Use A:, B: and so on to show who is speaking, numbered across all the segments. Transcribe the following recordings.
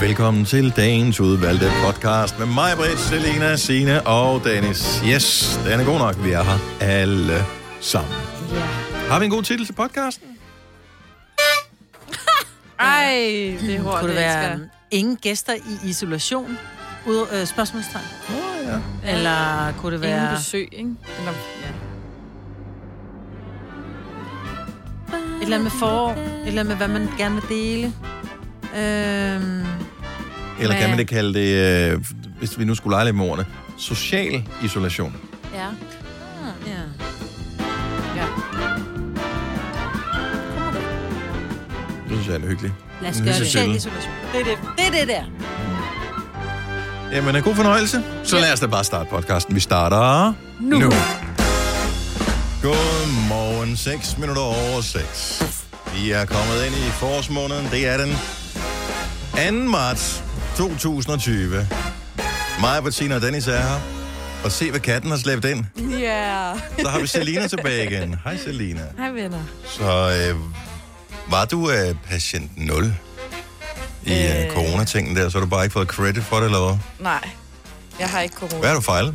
A: Velkommen til dagens udvalgte podcast med mig, Britt, Selena, Sine og Dennis. Yes, den er god nok. Vi er her alle sammen. Har vi en god titel til podcasten?
B: Ej, det er hårdt.
C: Kunne det
B: mennesker.
C: være øhm, ingen gæster i isolation? Ud, øh, spørgsmålstegn.
A: Oh, ja.
C: Eller kunne det
B: Ingen
C: være...
B: besøg, ikke? Eller, ja.
C: Et eller andet med forår. Et eller andet med, hvad man gerne vil dele. Øhm,
A: Eller kan
C: Ja.
A: man det kalde det, øh, hvis vi nu skulle lege lidt med ordene, social isolation?
B: ja.
C: ja.
A: Det synes jeg er en hyggelig.
C: Lad os
A: en
C: gøre
A: hyggelig
C: det. Social
A: titel.
C: isolation. Det er det. Det er det der.
A: Jamen, øh, god fornøjelse. Så lad os da bare starte podcasten. Vi starter nu. nu. Godmorgen, 6 minutter over 6. Vi er kommet ind i forårsmåneden. Det er den 2. marts 2020. Mig, Bettina og Dennis er her. Og se, hvad katten har slæbt ind.
B: Ja.
A: Så har vi Selina tilbage igen. Hej, Selina.
B: Hej venner.
A: Så øh, var du øh, patient 0 i øh.
D: Øh.
A: coronatingen der, så har du bare ikke fået credit for det, eller hvad?
D: Nej, jeg har ikke corona.
A: Hvad har du fejlet,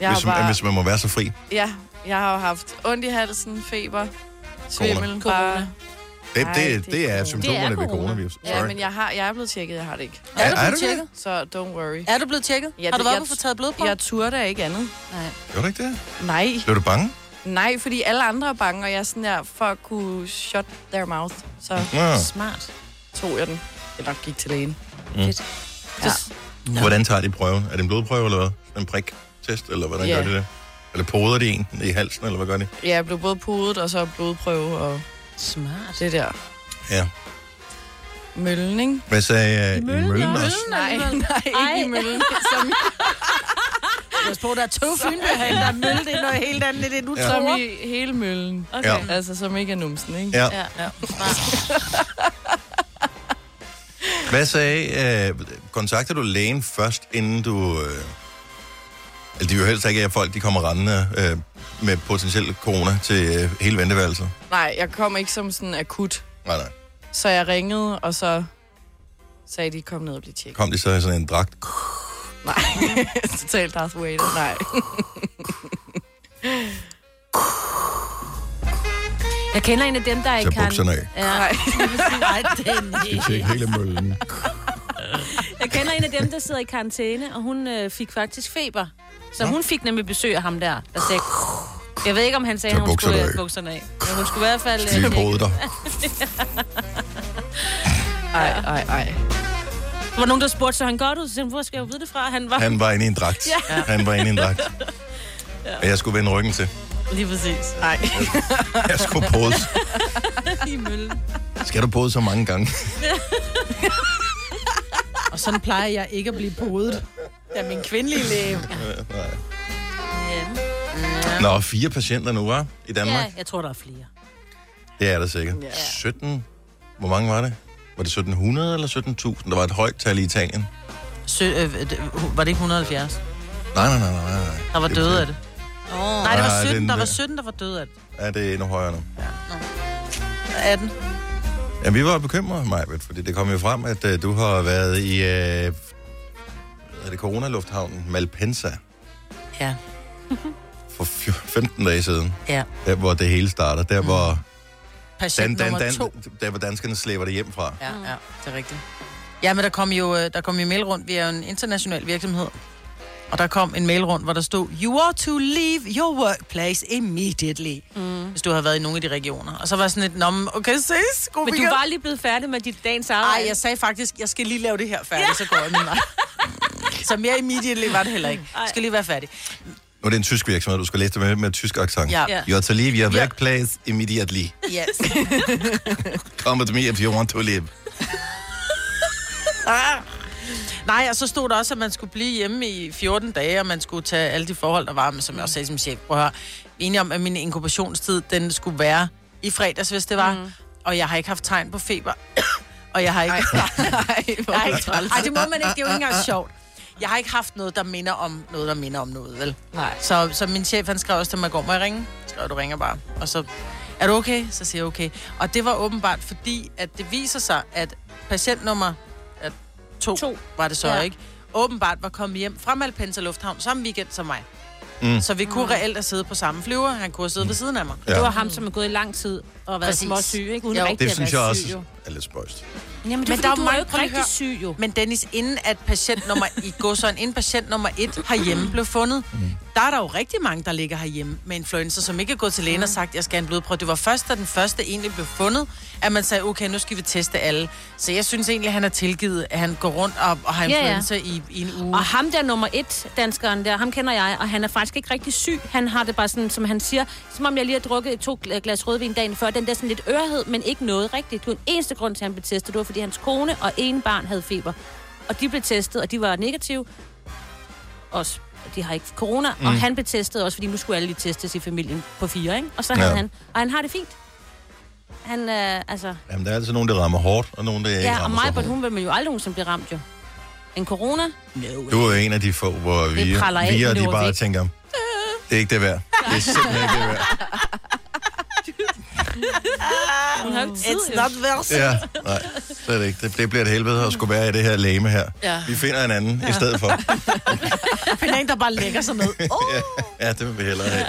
D: jeg
A: hvis,
D: har
A: bare...
D: bare,
A: hvis man må være så fri?
D: Ja, jeg har jo haft ondt i halsen, feber, svimmel,
C: Corona.
D: bare...
A: Det,
D: Nej,
A: det, det,
D: det er
A: er
D: corona.
A: symptomerne
B: Det er
A: ved
B: corona.
A: coronavirus. Sorry.
D: Ja, men jeg, har, jeg er blevet tjekket, jeg har det ikke.
C: Er,
A: Er-
C: du
A: er
C: blevet
A: du
C: tjekket?
D: Så don't worry.
C: Er du blevet tjekket?
D: Ja,
C: har du
D: det-
C: været
D: jeg-
C: oppe og få taget blodprøver?
D: Jeg turde ikke andet.
C: Nej.
A: Gjorde du ikke det?
D: Nej,
A: Blev du bange?
D: nej, fordi alle andre er bange, og jeg er sådan der, for at kunne shut their mouth, så
A: Ja.
C: Smart.
D: tog jeg den. Eller gik til lægen.
A: Mm.
C: Ja.
A: Ja. Hvordan tager de prøven? Er det en blodprøve, eller hvad? En priktest, eller hvordan
D: Ja.
A: gør de det? Eller poder de en i halsen, eller hvad gør de?
D: Ja, jeg blev både pudet, og så blodprøve, og
C: Smart.
D: det der
A: Ja.
D: møllen, ikke?
A: Hvad sagde uh, møllen, møllen også?
D: Nej, nej,
B: Ej.
D: ikke i møllen. Som,
C: Pas på, der er to fynbøger herinde, der er mølle. Det er noget helt andet, end det du
A: Ja.
C: tror.
D: som i hele møllen.
A: Ja.
B: Okay.
D: Altså, som ikke er numsen, ikke?
A: Ja.
B: Ja. ja.
A: Hvad sagde... Øh, kontakter du lægen først, inden du... Øh, altså, de vil jo helst ikke, at folk de kommer rendende øh, med potentiel corona til øh, hele venteværelset.
D: Nej, jeg kom ikke som sådan akut.
A: Nej, nej.
D: Så jeg ringede, og så sagde de, kom ned og bliv tjekket.
A: Kom de så i sådan en dragt?
D: Nej, totalt Darth Vader. Nej.
E: Jeg kender en af dem, der ikke
A: Tag
E: har...
A: bukserne af.
E: Ja,
C: Nej, det er
A: Tjek hele møllen.
E: jeg kender en af dem, der sidder i karantæne, og hun øh, fik faktisk feber. Så
A: Nå.
E: hun fik nemlig besøg af ham der, der sagde... Jeg ved ikke, om han sagde,
A: Tag
E: at hun
A: bukserne
E: skulle
A: af.
E: have bukserne af. Men hun skulle i hvert fald...
A: Lige
E: øh, ikke-
A: podet dig.
D: Ej, ej, ej.
E: Der var nogen, der spurgte, så han godt ud. Så sagde, hun, hvor skal jeg jo vide det fra? Han var...
A: Han var inde i en dragt. Ja. Han var inde i en dragt. Og jeg skulle vende ryggen til.
E: Lige præcis.
D: Nej.
A: Jeg skulle pose.
E: I møllen.
A: Skal du pose så mange gange?
C: Og sådan plejer jeg ikke at blive podet. Det er min kvindelige læge.
E: Ja.
A: Nå, fire patienter nu, var I Danmark?
E: ja, jeg tror, der er flere.
A: Det er der sikkert. 17... Hvor mange var det? Var det 1700 eller 17.000? Der var et højt tal i Italien.
C: Sø, øh, d- var det ikke 170?
A: Nej, nej, nej, nej, nej.
C: Der var
A: Det
C: døde
A: betyder-
C: af det. Oh. Nej, det
A: Nej,
C: var
A: den
C: 17, der
A: der-
C: var 17, der var døde af det.
A: Ja, det er endnu højere nu.
C: 18.
A: Ja, vi var bekymrede, Majbet, fordi det kom jo frem, at uh, du har været i uh, er det Corona-lufthavnen Malpensa
C: Ja,
A: for fjo- 15 dage siden.
C: ja.
A: Der, hvor det hele starter. Der, hvor
E: Mm.
A: Dan,
C: Patient
A: dan,
C: nummer
A: dan,
C: to.
A: der hvor danskerne slæber det hjem fra.
C: Ja, ja, det er rigtigt. Ja, men der kom jo, øh, der kom jo mail rundt. Vi er jo en international virksomhed. Og der kom en mail rundt, hvor der stod, You are to leave your workplace immediately. Mm. Hvis du har været i nogle af de regioner. Og så var jeg sådan lidt, Nå, men okay, ses. Oh God
E: Men du
C: weekend."
E: var lige blevet færdig med dit dagens arbejde.
C: Ej, jeg sagde faktisk, jeg skal lige lave det her færdigt, ja. så går jeg min vej. Så mere immediately var det heller ikke. Jeg skal lige være færdig.
A: Nu er det en tysk virksomhed, du skal læse det med, med tysk accent.
C: Ja.
E: Ja.
A: You are to leave your workplace immediately.
C: Yes.
A: Come with me if you want to live.
C: Nej, og så stod der også, at man skulle blive hjemme i 14 dage, og man skulle tage alle de forhold, der var. Men som jeg også sagde som chef, prøv at høre, vi er enige om, at min inkubationstid, den skulle være i fredags, hvis det var. Mm. Og jeg har ikke haft tegn på feber. og jeg har ikke...
D: Nej,
C: Ej, Ej, det må man ikke. Det er jo ikke engang sjovt. Jeg har ikke haft noget, der minder om noget, der minder om noget, vel?
D: Nej.
C: Så, så min chef, han skrev også til mig, går, må jeg ringe? Så skrev, jeg, du ringer bare. Og så, er du okay? Så siger jeg okay. Og det var åbenbart fordi, at det viser sig, at patient nummer at to,
E: To.
C: to. var det så,
E: Ja.
C: ja. ikke? Åbenbart var kommet hjem fra Malpensa Lufthavn samme weekend som mig.
A: Mm.
C: Mm. Så vi kunne mm. reelt have siddet på samme flyver. Han kunne have siddet ved siden af mig.
A: Ja.
E: Ja. Det var ham, som er gået i lang tid og været
C: Præcis.
E: småsyg, ikke? Uden
C: Jo.
E: rigtig
A: Det
E: at
A: synes jeg
E: være
A: også
E: syg, jo.
A: er lidt spøjst.
E: Jamen, det
C: Men
E: er,
C: der er
E: fordi, du er
C: mange-
E: jo ikke
C: prøv lige at
E: rigtig syg, jo.
C: Men Dennis, inden at patient nummer i går, så inden patient nummer et herhjemme blev fundet,
A: Mm.
C: der er der jo rigtig mange, der ligger herhjemme med influenza, som ikke er gået til lægen og sagt, jeg skal have en blodprøve. Det var først, da den første egentlig blev fundet, at man sagde, okay, nu skal vi teste alle. Så jeg synes egentlig, at han er tilgivet, at han går rundt og, og har
E: Ja, ja.
C: influenza ja, ja. I, i en uge.
E: Mm. Og ham der nummer et, danskeren der, ham kender jeg, og han er faktisk ikke rigtig syg. Han har det bare sådan, som han siger, som om jeg lige har drukket to gla- glas rødvin dagen før. Den der sådan lidt ørehed, men ikke noget rigtigt. Den eneste grund til, at han blev testet, det var, fordi hans kone og en barn havde feber. Og de blev testet, og de var negative. Også de har ikke corona, mm. og han blev testet også, fordi nu skulle alle lige testes i familien på fire, ikke? Og så havde
A: Ja.
E: ja. han, og han har det fint. Han, øh, altså,
A: Jamen, der er altid nogen, der rammer hårdt, og nogen, der ikke
E: ja, og
A: rammer
E: mig,
A: så hårdt.
E: hun vil man jo aldrig nogensinde blive ramt, jo. En corona,
A: Du er en af de få, hvor vi,
E: preller af,
A: vi og de
E: når vi
A: bare
E: ikke-
A: tænker, det er ikke det værd. Det er simpelthen ikke det værd.
E: hun har jo ikke tid,
C: Mm. It's
E: jo.
C: not worth it.
A: Ja, nej, slet ikke. Det, det bliver et helvede at skulle være i det her læme her.
C: Ja.
A: Vi finder en anden i stedet for.
C: Jeg finder en, der bare lægger sig ned.
A: Ja, det vil vi hellere have.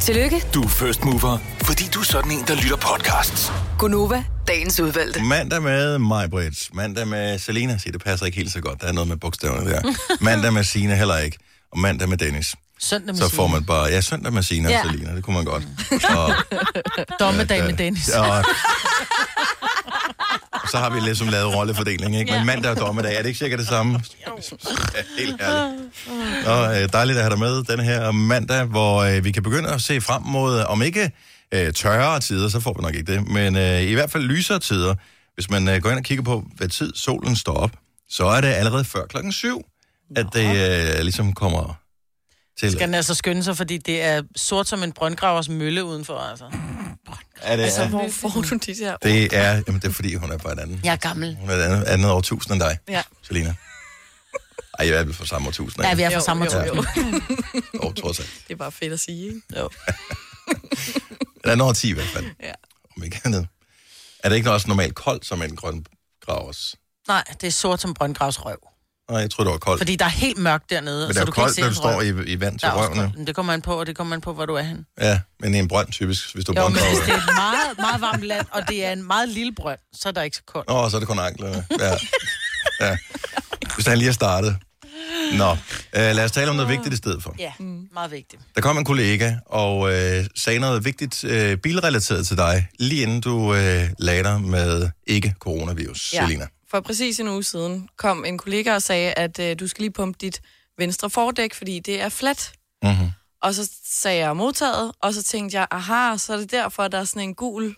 F: Tillykke,
G: Du er first mover, fordi du er sådan en, der lytter podcasts.
F: Gunova, dagens udvalgte.
A: Mandag med mig, Britt. Mandag med Selina. Se, det passer ikke helt så godt. Der er noget med bogstaverne der. Mandag med Sina heller ikke. Og mandag med Dennis.
C: Søndag med
A: Så får
C: Signe.
A: man bare... Ja, søndag med Sina ja.
E: Ja.
A: og Selina. Det kunne man godt. Og,
C: Dommedag
A: ja,
C: med Dennis.
A: Ja. øh, og- Og så har vi ligesom lavet rollefordeling, ikke? Men mandag og dommedag, er det ikke cirka det samme? Ja, Helt ærligt. Og øh, dejligt at have dig med den her mandag, hvor øh, vi kan begynde at se frem mod, øh, om ikke øh, tørre tider, så får vi nok ikke det, men øh, i hvert fald lysere tider. Hvis man øh, går ind og kigger på, hvad tid solen står op, så er det allerede før klokken syv, at det øh, ligesom kommer til.
C: Skal den altså skynde sig, fordi det er sort som en brøndgravers mølle udenfor, altså.
A: Er det,
D: Altså, hvor får du de der
A: det er, jamen, det er fordi, hun er bare et andet.
C: Jeg er gammel.
A: Hun er et andet, andet årtusind end dig,
D: Ja.
A: Selina. Ej, jeg er vel fra samme årtusind.
C: Ja, vi er fra samme
A: jo,
C: tur.
A: jo. Åh, trods alt.
D: Det er bare fedt at sige, ikke?
C: Jo.
A: Et andet årti i hvert fald.
D: Ja.
A: Om ikke andet. Er det ikke også normalt koldt som en grøn gravers?
C: Nej, det er sort som brøndgravs røv.
A: Nej, jeg tror, det var koldt.
C: Fordi der er helt mørkt dernede,
A: Men det er jo
C: kan
A: koldt, når du
C: ens
A: står
C: røv.
A: i, i vand
C: Der
A: til
C: er også koldt.
A: røvene.
C: Men Det kommer an på, og det kommer an på, hvor du er henne.
A: Ja, men i en brønd typisk, hvis du er
C: Jo, men hvis
A: brøndgraver.
C: det er et meget, meget varmt land, og det er en meget lille brønd, så er der ikke så koldt.
A: Nå, så er det kun anklerne. Ja. ja. Hvis han lige har startet. Nå, øh, lad os tale om noget vigtigt i stedet for.
C: Ja, meget vigtigt.
A: Der kom en kollega og øh, sagde noget vigtigt øh, bilrelateret til dig, lige inden du øh, lagde dig med ikke-coronavirus, ja. Selina.
D: For præcis en uge siden kom en kollega og sagde, at øh, du skal lige pumpe dit venstre fordæk, fordi det er fladt.
A: Mm-hmm.
D: Og så sagde jeg modtaget, og så tænkte jeg, aha, så er det derfor, at der er sådan en gul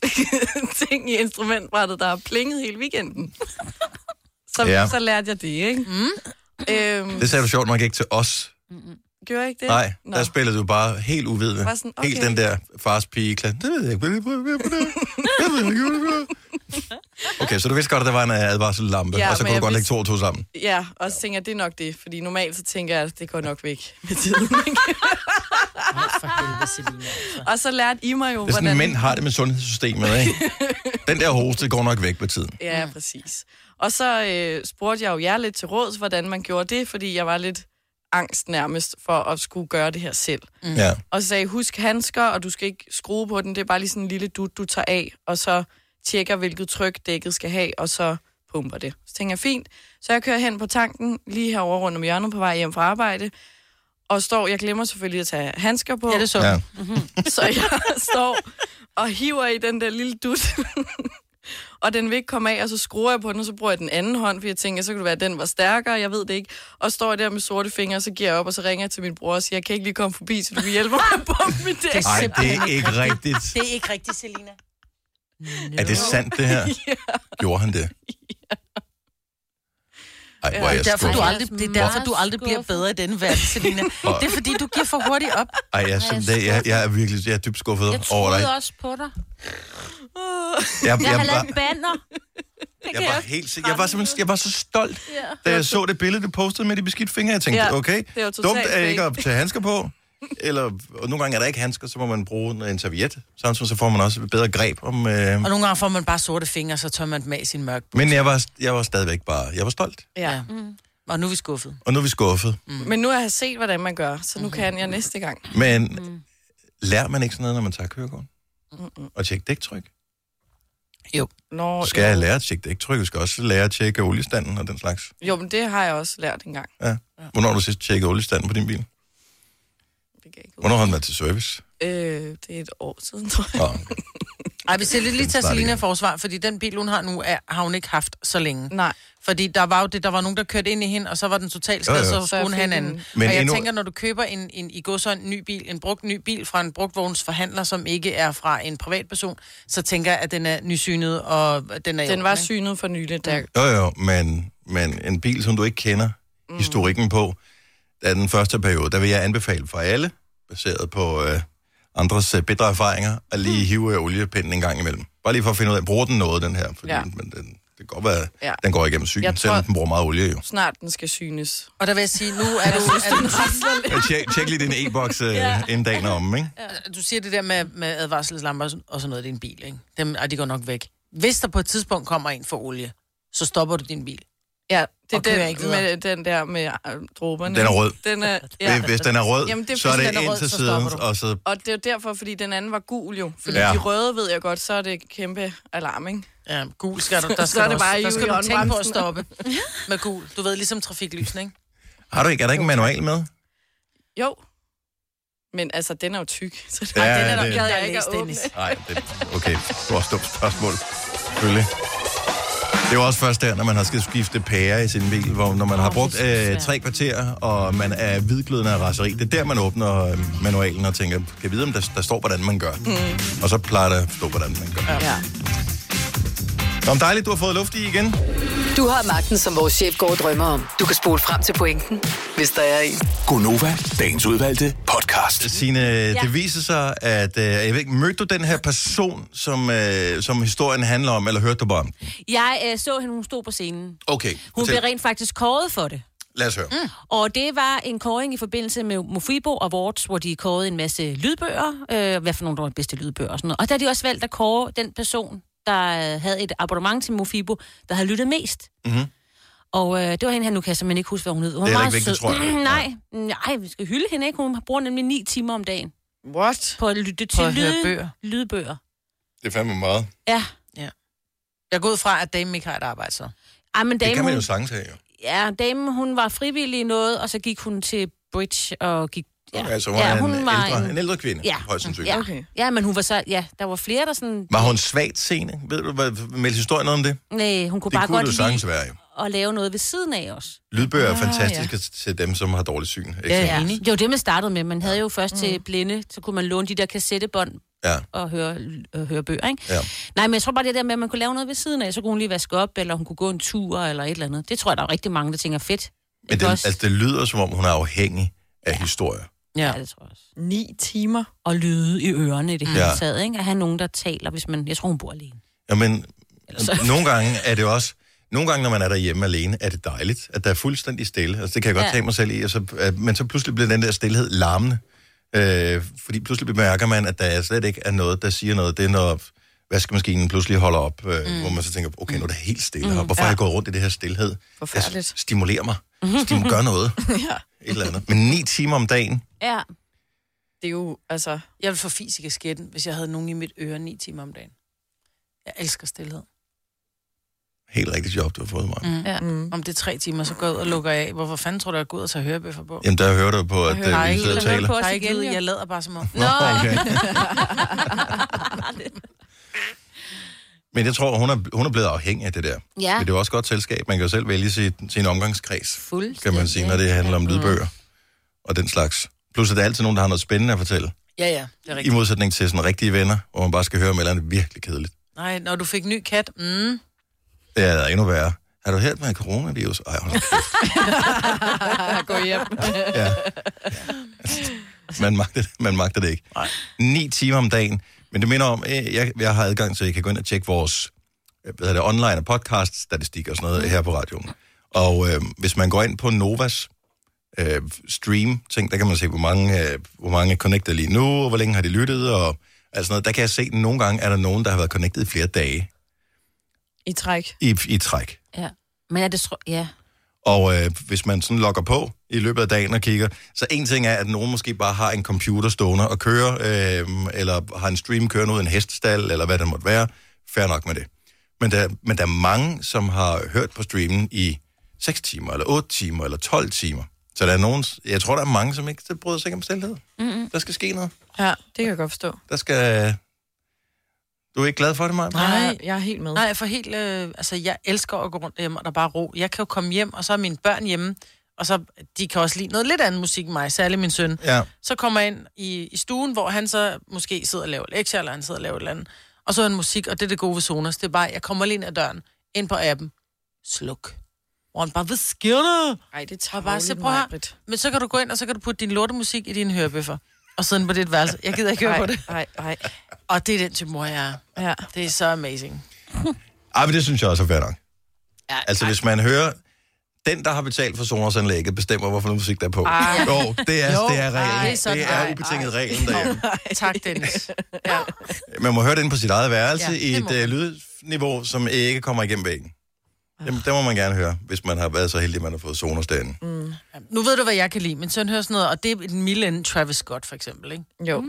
D: ting i instrumentbrættet, der har plinget hele weekenden. Så,
A: Ja.
D: ja. så lærte jeg det, ikke? Mm. Øhm,
A: Det sagde du sjovt nok ikke til os.
D: gjorde jeg ikke det?
A: Nej,
D: Nå.
A: der spillede du bare helt uvidende.
D: Bare sådan, okay.
A: Helt den der fars pige klan. Det ved jeg ikke. Jeg ved ikke, hvad det er. Okay, så du vidste godt, at der var en øh, advarsellampe,
D: Ja,
A: og så
D: men
A: kunne du
D: jeg
A: godt lægge
D: vidste-
A: to og to sammen.
D: Ja, og så tænker jeg, det er nok det, fordi normalt så tænker jeg, at det går nok væk med tiden. ikke?
C: For helvede, Selina. altså.
D: og så lærte I mig jo,
A: Det er sådan,
D: hvordan...
A: mænd har det med sundhedssystemet, ikke? Den der hoste går nok væk med tiden.
D: Ja, præcis. Og så øh, spurgte jeg jo jer lidt til råds, hvordan man gjorde det, fordi jeg var lidt angst nærmest for at skulle gøre det her selv.
C: Mm.
A: Ja.
D: Og så sagde jeg, husk handsker, og du skal ikke skrue på den. Det er bare lige sådan en lille dut, du tager af, og så tjekker, hvilket tryk dækket skal have, og så pumper det. Så tænker jeg, fint. Så jeg kører hen på tanken, lige herovre rundt om hjørnet på vej hjem fra arbejde, og står, jeg glemmer selvfølgelig at tage handsker på,
C: Ja, det så
A: ja.
C: ja.
D: så jeg står og hiver i den der lille dut, og den vil ikke komme af, og så skruer jeg på den, og så bruger jeg den anden hånd, for jeg tænker, så kunne det være, at den var stærkere, jeg ved det ikke. Og står der med sorte fingre, og så giver jeg op, og så ringer jeg til min bror og siger, jeg kan ikke lige komme forbi, så du kan hjælpe mig med at pumpe mit dæk.
A: Ej, det er ikke rigtigt.
C: Det er ikke rigtigt, Selina.
A: Er det sandt, det her? Gjorde han det? Ej, hvor er
C: Det
A: jeg
C: er derfor, du
A: skuffet.
C: aldrig, det er derfor, du aldrig bliver bedre i denne verden, Selina. Det er fordi, du giver for hurtigt op.
A: Ej, jeg, er simpelthen- jeg, jeg er virkelig jeg er dybt skuffet
E: Jeg
A: over dig.
E: troede også på dig.
A: Jeg,
E: Jeg,
A: jeg,
E: har
A: var,
E: lavet banner.
A: jeg, var helt, si- jeg var simpelthen jeg var så stolt, da jeg så det billede, du postede med de beskidte fingre. Jeg tænkte,
D: Ja,
A: okay,
D: er jo totalt
A: dumt er ikke
D: fake.
A: at tage handsker på. eller og nogle gange er der ikke handsker, så må man bruge en, en serviet. Samtidig så får man også et bedre greb om... Øh,
C: Og nogle gange får man bare sorte fingre, så tør man dem af i sin mørk.
A: men jeg var, jeg var stadigvæk bare... Jeg var stolt,
D: Ja.
A: Mm.
C: Og nu er vi skuffet.
A: og nu er vi skuffet. Mm. Mm-hmm.
D: Men nu har jeg set, hvordan man gør, så nu kan jeg næste gang.
A: Men mm. lærer man ikke sådan noget, når man tager kørekortet? Mm-mm. Og tjekke dæktryk?
D: Nå,
A: Skal jeg lære at tjekke dæktryk? Jeg skal også lære at tjekke oliestanden og den slags.
D: Jo, men det har jeg også lært engang.
A: Ja. Hvornår har du sidst tjekket oliestanden på din bil?
D: Det, kan jeg ikke
A: Hvornår har den været til service?
D: huske. øh, det er et år siden, tror jeg.
A: Nå,
C: Ej, vi sætter lige
A: Den
C: til
A: starter
C: Selina
A: igen.
C: forsvar, fordi den bil, hun har nu, er, har hun ikke haft så længe.
D: Nej.
C: Fordi der var jo det, der var nogen, der kørte ind i hende, og så var den totalt
A: Jo,
C: skadet,
A: jo.
C: så
D: Så jeg
C: skulle hun
D: fik
C: have en
D: en-
C: anden.
A: Men
C: og jeg
A: endnu-
C: tænker, når du køber en, en i går så en ny bil, en brugt ny bil fra en brugtvognsforhandler, som ikke er fra en privatperson, så tænker jeg, at den er nysynet, og den er i
D: Den
C: orden,
D: var
C: ikke?
D: synet for nylig, da
A: Jo, jo, men, men en bil, som du ikke kender mm. historikken på, af den første periode, der vil jeg anbefale for alle, baseret på øh, andres øh, bedre erfaringer, at lige hive øh, oliepinden en gang imellem. Bare lige for at finde ud af, bruger den noget, den her? Fordi ja.
D: Ja.
A: men den, det kan godt være, ja.
D: Ja.
A: den går igennem sygen,
D: Jeg
A: selvom
D: tror-
A: den bruger meget olie jo.
D: snart den skal synes.
C: Og der vil jeg sige, nu er du, er du,
A: Ja, Tjek, tjek lige din e-boks øh, en dag om, ikke?
C: du siger det der med, med advarselslamper og sådan- og sådan noget, det er en bil, ikke? Dem, og de går nok væk. Hvis der på et tidspunkt kommer en for olie, så stopper du din bil.
D: Ja, det er
C: Og kører ikke
D: den,
C: videre.
D: med, den der med øh, dråberne.
A: Den er rød.
D: Den er,
A: Ja.
D: ja.
A: Hvis den er rød,
D: Jamen, det er
A: så er
D: fordi,
A: det
C: den er
A: ind
C: rød,
A: til
C: så
A: siden,
C: stopper du.
A: og så...
D: Og det er jo derfor, fordi den anden var gul jo. Fordi
A: Ja.
D: ja. de røde ved jeg godt, så er det kæmpe alarm, ikke?
C: Ja, gul skal du, der skal
D: Så er det
C: du også-
D: bare
C: der
D: i
C: skal du tænke på at
D: håndbremsen.
C: stoppe med gul. Du ved, ligesom trafiklysene, ikke?
A: Har du ikke, er der ikke en manual med?
D: Jo. Men altså, den er jo tyk. Så det,
A: Ja,
D: Ej, den er
A: det-
D: der,
C: Jeg
D: jeg
C: har
D: ikke
C: læst,
D: at åbne.
C: Dennis.
A: Nej, det, okay. Det var et dumt spørgsmål. Selvfølgelig. Det var også først der, når man har skal skifte pære i sin bil, hvor når man har brugt øh, tre kvarter, og man er hvidglødende af raseri. Det er der, man åbner øh, manualen og tænker, kan jeg vide, om der, der står, hvordan man gør. Mm. Og så plejer der at stå, hvordan man gør. Ja. Nå, men dejligt, du har fået luft i igen.
F: Du har magten, som vores chef går og drømmer om. Du kan spole frem til pointen, hvis der er en.
G: Gonova, dagens udvalgte podcast.
A: Signe, ja. det viser sig, at øh, jeg ved ikke, mødte du den her person, som, øh, som historien handler om, eller hørte du bare om? den?
E: Jeg øh, så hende, hun stod på scenen.
A: Okay,
E: Hun
A: fortæl.
E: blev rent faktisk kåret for det.
A: lad os høre. Mm.
E: Og det var en kåring i forbindelse med Mofibo Awards, hvor de kårede en masse lydbøger. Øh, hvad for nogle, der var de bedste lydbøger og sådan noget. Og der har de også valgt at kåre den person, der øh, havde et abonnement til Mofibo, der havde lyttet mest. Mm-hmm. Og øh, det var hende her, nu kan jeg simpelthen ikke huske, hvad hun hed. Hun var
A: Mhm. Det er
E: meget
A: heller ikke
E: sød.
A: vigtigt, tror jeg.
E: nej, nej, vi skal hylde hende ikke. Hun bruger nemlig ni timer om dagen
C: What?
E: på at lytte til
C: På at høre
E: lyd,
C: bøger.
E: lydbøger.
A: Det er fandme meget.
E: Ja,
C: Jeg går ud fra, at damen ikke har et arbejde, så.
E: Ej, men
A: Det
E: dame,
A: kan man
E: hun,
A: jo sagtens have, jo.
E: ja, dame, hun var frivillig i noget, og så gik hun til bridge og gik... Ja,
A: Altså, hun, ja, er en,
E: var
A: ældre, en...
E: en-
A: en ældre kvinde, ja.
E: Ja.
A: højst sandsynligt.
E: Ja.
A: Ja.
E: Okay. ja, men hun var så... Ja, der var flere, der sådan...
A: Var hun svagt seende? Ved du, hvad meldte historien noget om det?
E: Nej, hun kunne
A: Det
E: bare
A: kunne
E: godt
A: det jo
E: lide
A: sagtens være, jo.
E: at lave noget ved siden af os.
A: Lydbøger er fantastiske ja. til dem, som har dårligt syn. Ikke?
C: Ja.
E: Det var det, man startede med. Man havde jo først til blinde, så kunne man låne de der kassettebånd
A: ja.
E: og høre, øh, høre bøger, ikke?
A: Ja.
E: Nej, men jeg tror bare det der med, at man kunne lave noget ved siden af, så kunne hun lige vaske op, eller hun kunne gå en tur, eller et eller andet. Det tror jeg, der er rigtig mange, der tænker fedt.
A: Men det,
E: Ikke også?
A: altså, det lyder, som om hun er afhængig af ja. historier.
C: Ja.
E: Ja, det tror jeg også.
D: Ni timer.
E: Og lyde i ørerne i det hele
A: Ja.
E: taget, ikke? At have nogen, der taler, hvis man... Jeg tror, hun bor alene.
A: Jamen, nogle gange er det også... Nogle gange, når man er derhjemme alene, er det dejligt, at der er fuldstændig stille. Altså, det kan jeg godt ja.
E: Ja.
A: tage mig selv i. Og så, øh, men så pludselig bliver den der stillhed larmende. Øh, fordi pludselig bemærker man, at der slet ikke er noget, der siger noget. Det er når vaskemaskinen pludselig holder op, øh, mm. hvor man så tænker, okay, nu er det helt stille her. Hvorfor ja. har jeg gået rundt i det her stillhed?
D: Forfærdeligt.
A: Jeg stimulerer mig. Stim, gør noget. ja. Et eller andet. Men ni timer om dagen,
E: Ja.
D: Det er jo, altså...
C: Jeg ville få fis i kasketten, hvis jeg havde nogen i mit øre 9 timer om dagen. Jeg elsker stillhed.
A: helt rigtigt job, du har fået mig. Mm.
C: Ja. Mm. Om det er tre timer, så går jeg ud og lukker af. Hvorfor fanden tror du, jeg går ud og tager hørebøffer på?
A: Jamen, der hører du på, at
D: hører
A: øh, vi sidder og
E: hører
A: taler.
E: på os
C: Der er ikke
E: igen,
C: lyd,
E: jo.
C: jeg lader bare som om.
A: Nå, okay. Men jeg tror, hun er, hun er blevet afhængig af det der.
E: Ja.
A: Men det er jo også godt selskab. Man kan jo selv vælge sit, sin omgangskreds,
E: Fuldstændig.
A: kan man sige, når det handler om lydbøger og den slags. Plus, at der er altid nogen, der har noget spændende at fortælle.
C: Ja, ja, det er
A: I
C: rigtigt.
A: modsætning til sådan rigtige venner, hvor man bare skal høre om et eller andet virkelig kedeligt.
C: Nej, når du fik ny kat, mm,
A: Det er endnu værre. Har du hørt med coronavirus? Ej, hold da kæft.
D: Gå hjem.
A: ja. man, magter det, man magter det ikke. Nej. 9 timer om dagen. Men det minder om, øh, jeg, jeg har adgang til, at I kan gå ind og tjekke vores øh, hvad hedder det, online og podcast statistik og sådan noget her på radioen. Og øh, hvis man går ind på Novas øh, stream-ting, der kan man se, hvor mange, øh, hvor mange er connected lige nu, og hvor længe har de lyttet, og alt sådan noget. Der kan jeg se, at nogle gange er der nogen, der har været connected i flere dage
D: i træk.
A: i, i træk.
E: Ja. Men er det... Tro... Ja.
A: Og øh, hvis man sådan logger på i løbet af dagen og kigger, så en ting er, at nogen måske bare har en computer stående og kører, øh, eller har en stream kørende ud i en hestestald, eller hvad det måtte være. Fair nok med det. Men der, men der er mange, som har hørt på streamen i 6 timer, eller 8 timer, eller 12 timer. Så der er nogen, jeg tror, der er mange, som ikke bryder sig ikke om stillhed. Mm-hmm. Der skal ske noget.
D: Ja, det kan jeg godt forstå.
A: Der skal... Du er ikke glad for det, Maja?
C: Nej.
D: Nej, jeg er helt med.
C: Nej, jeg får helt... Øh, altså, jeg elsker at gå rundt hjemme, og der er bare ro. Jeg kan jo komme hjem, og så er mine børn hjemme, og så de kan også lide noget lidt andet musik end mig, særligt min søn.
A: Ja.
C: Så kommer jeg ind i, i stuen, hvor han så måske sidder og laver lektier, eller han sidder og laver et eller andet. Og så er en musik, og det er det gode ved Sonos. Det er bare, jeg kommer lige ind ad døren, ind på appen, sluk. Hvor han bare, hvad sker der?
D: Nej, det tager
C: Og bare, se, prøv her. Men så kan du gå ind, og så kan du putte din lortemusik i dine hørebøffer. Og sidde inde på dit værelse. Jeg gider ikke høre på det.
D: Nej, nej.
C: Og det er den type mor, jeg er.
D: Ja.
C: Det er så amazing.
A: Ej, men det synes jeg også er fair nok.
C: Ja,
A: Altså, hvis man hører, den, der har betalt for Sonos-anlægget, bestemmer, hvorfor noget musik der er på.
D: Ej.
A: Jo, det er,
C: Jo,
A: det er reglen.
C: ej,
A: det er,
C: sådan,
A: det
C: ej,
A: er ubetinget reglen derhjemme.
C: tak, Dennis. Ja.
A: Man må høre det inde på sit eget værelse
C: Ja,
A: ja, i
C: det
A: et
C: må
A: uh, lydniveau, som ikke kommer igennem væggen. Jamen, det må man gerne høre, hvis man har været så heldig, at man har fået Sonos derinde. Mm.
C: Nu ved du, hvad jeg kan lide. Min søn hører sådan noget, og det er den milde ende Travis Scott, for eksempel, ikke?
D: Jo.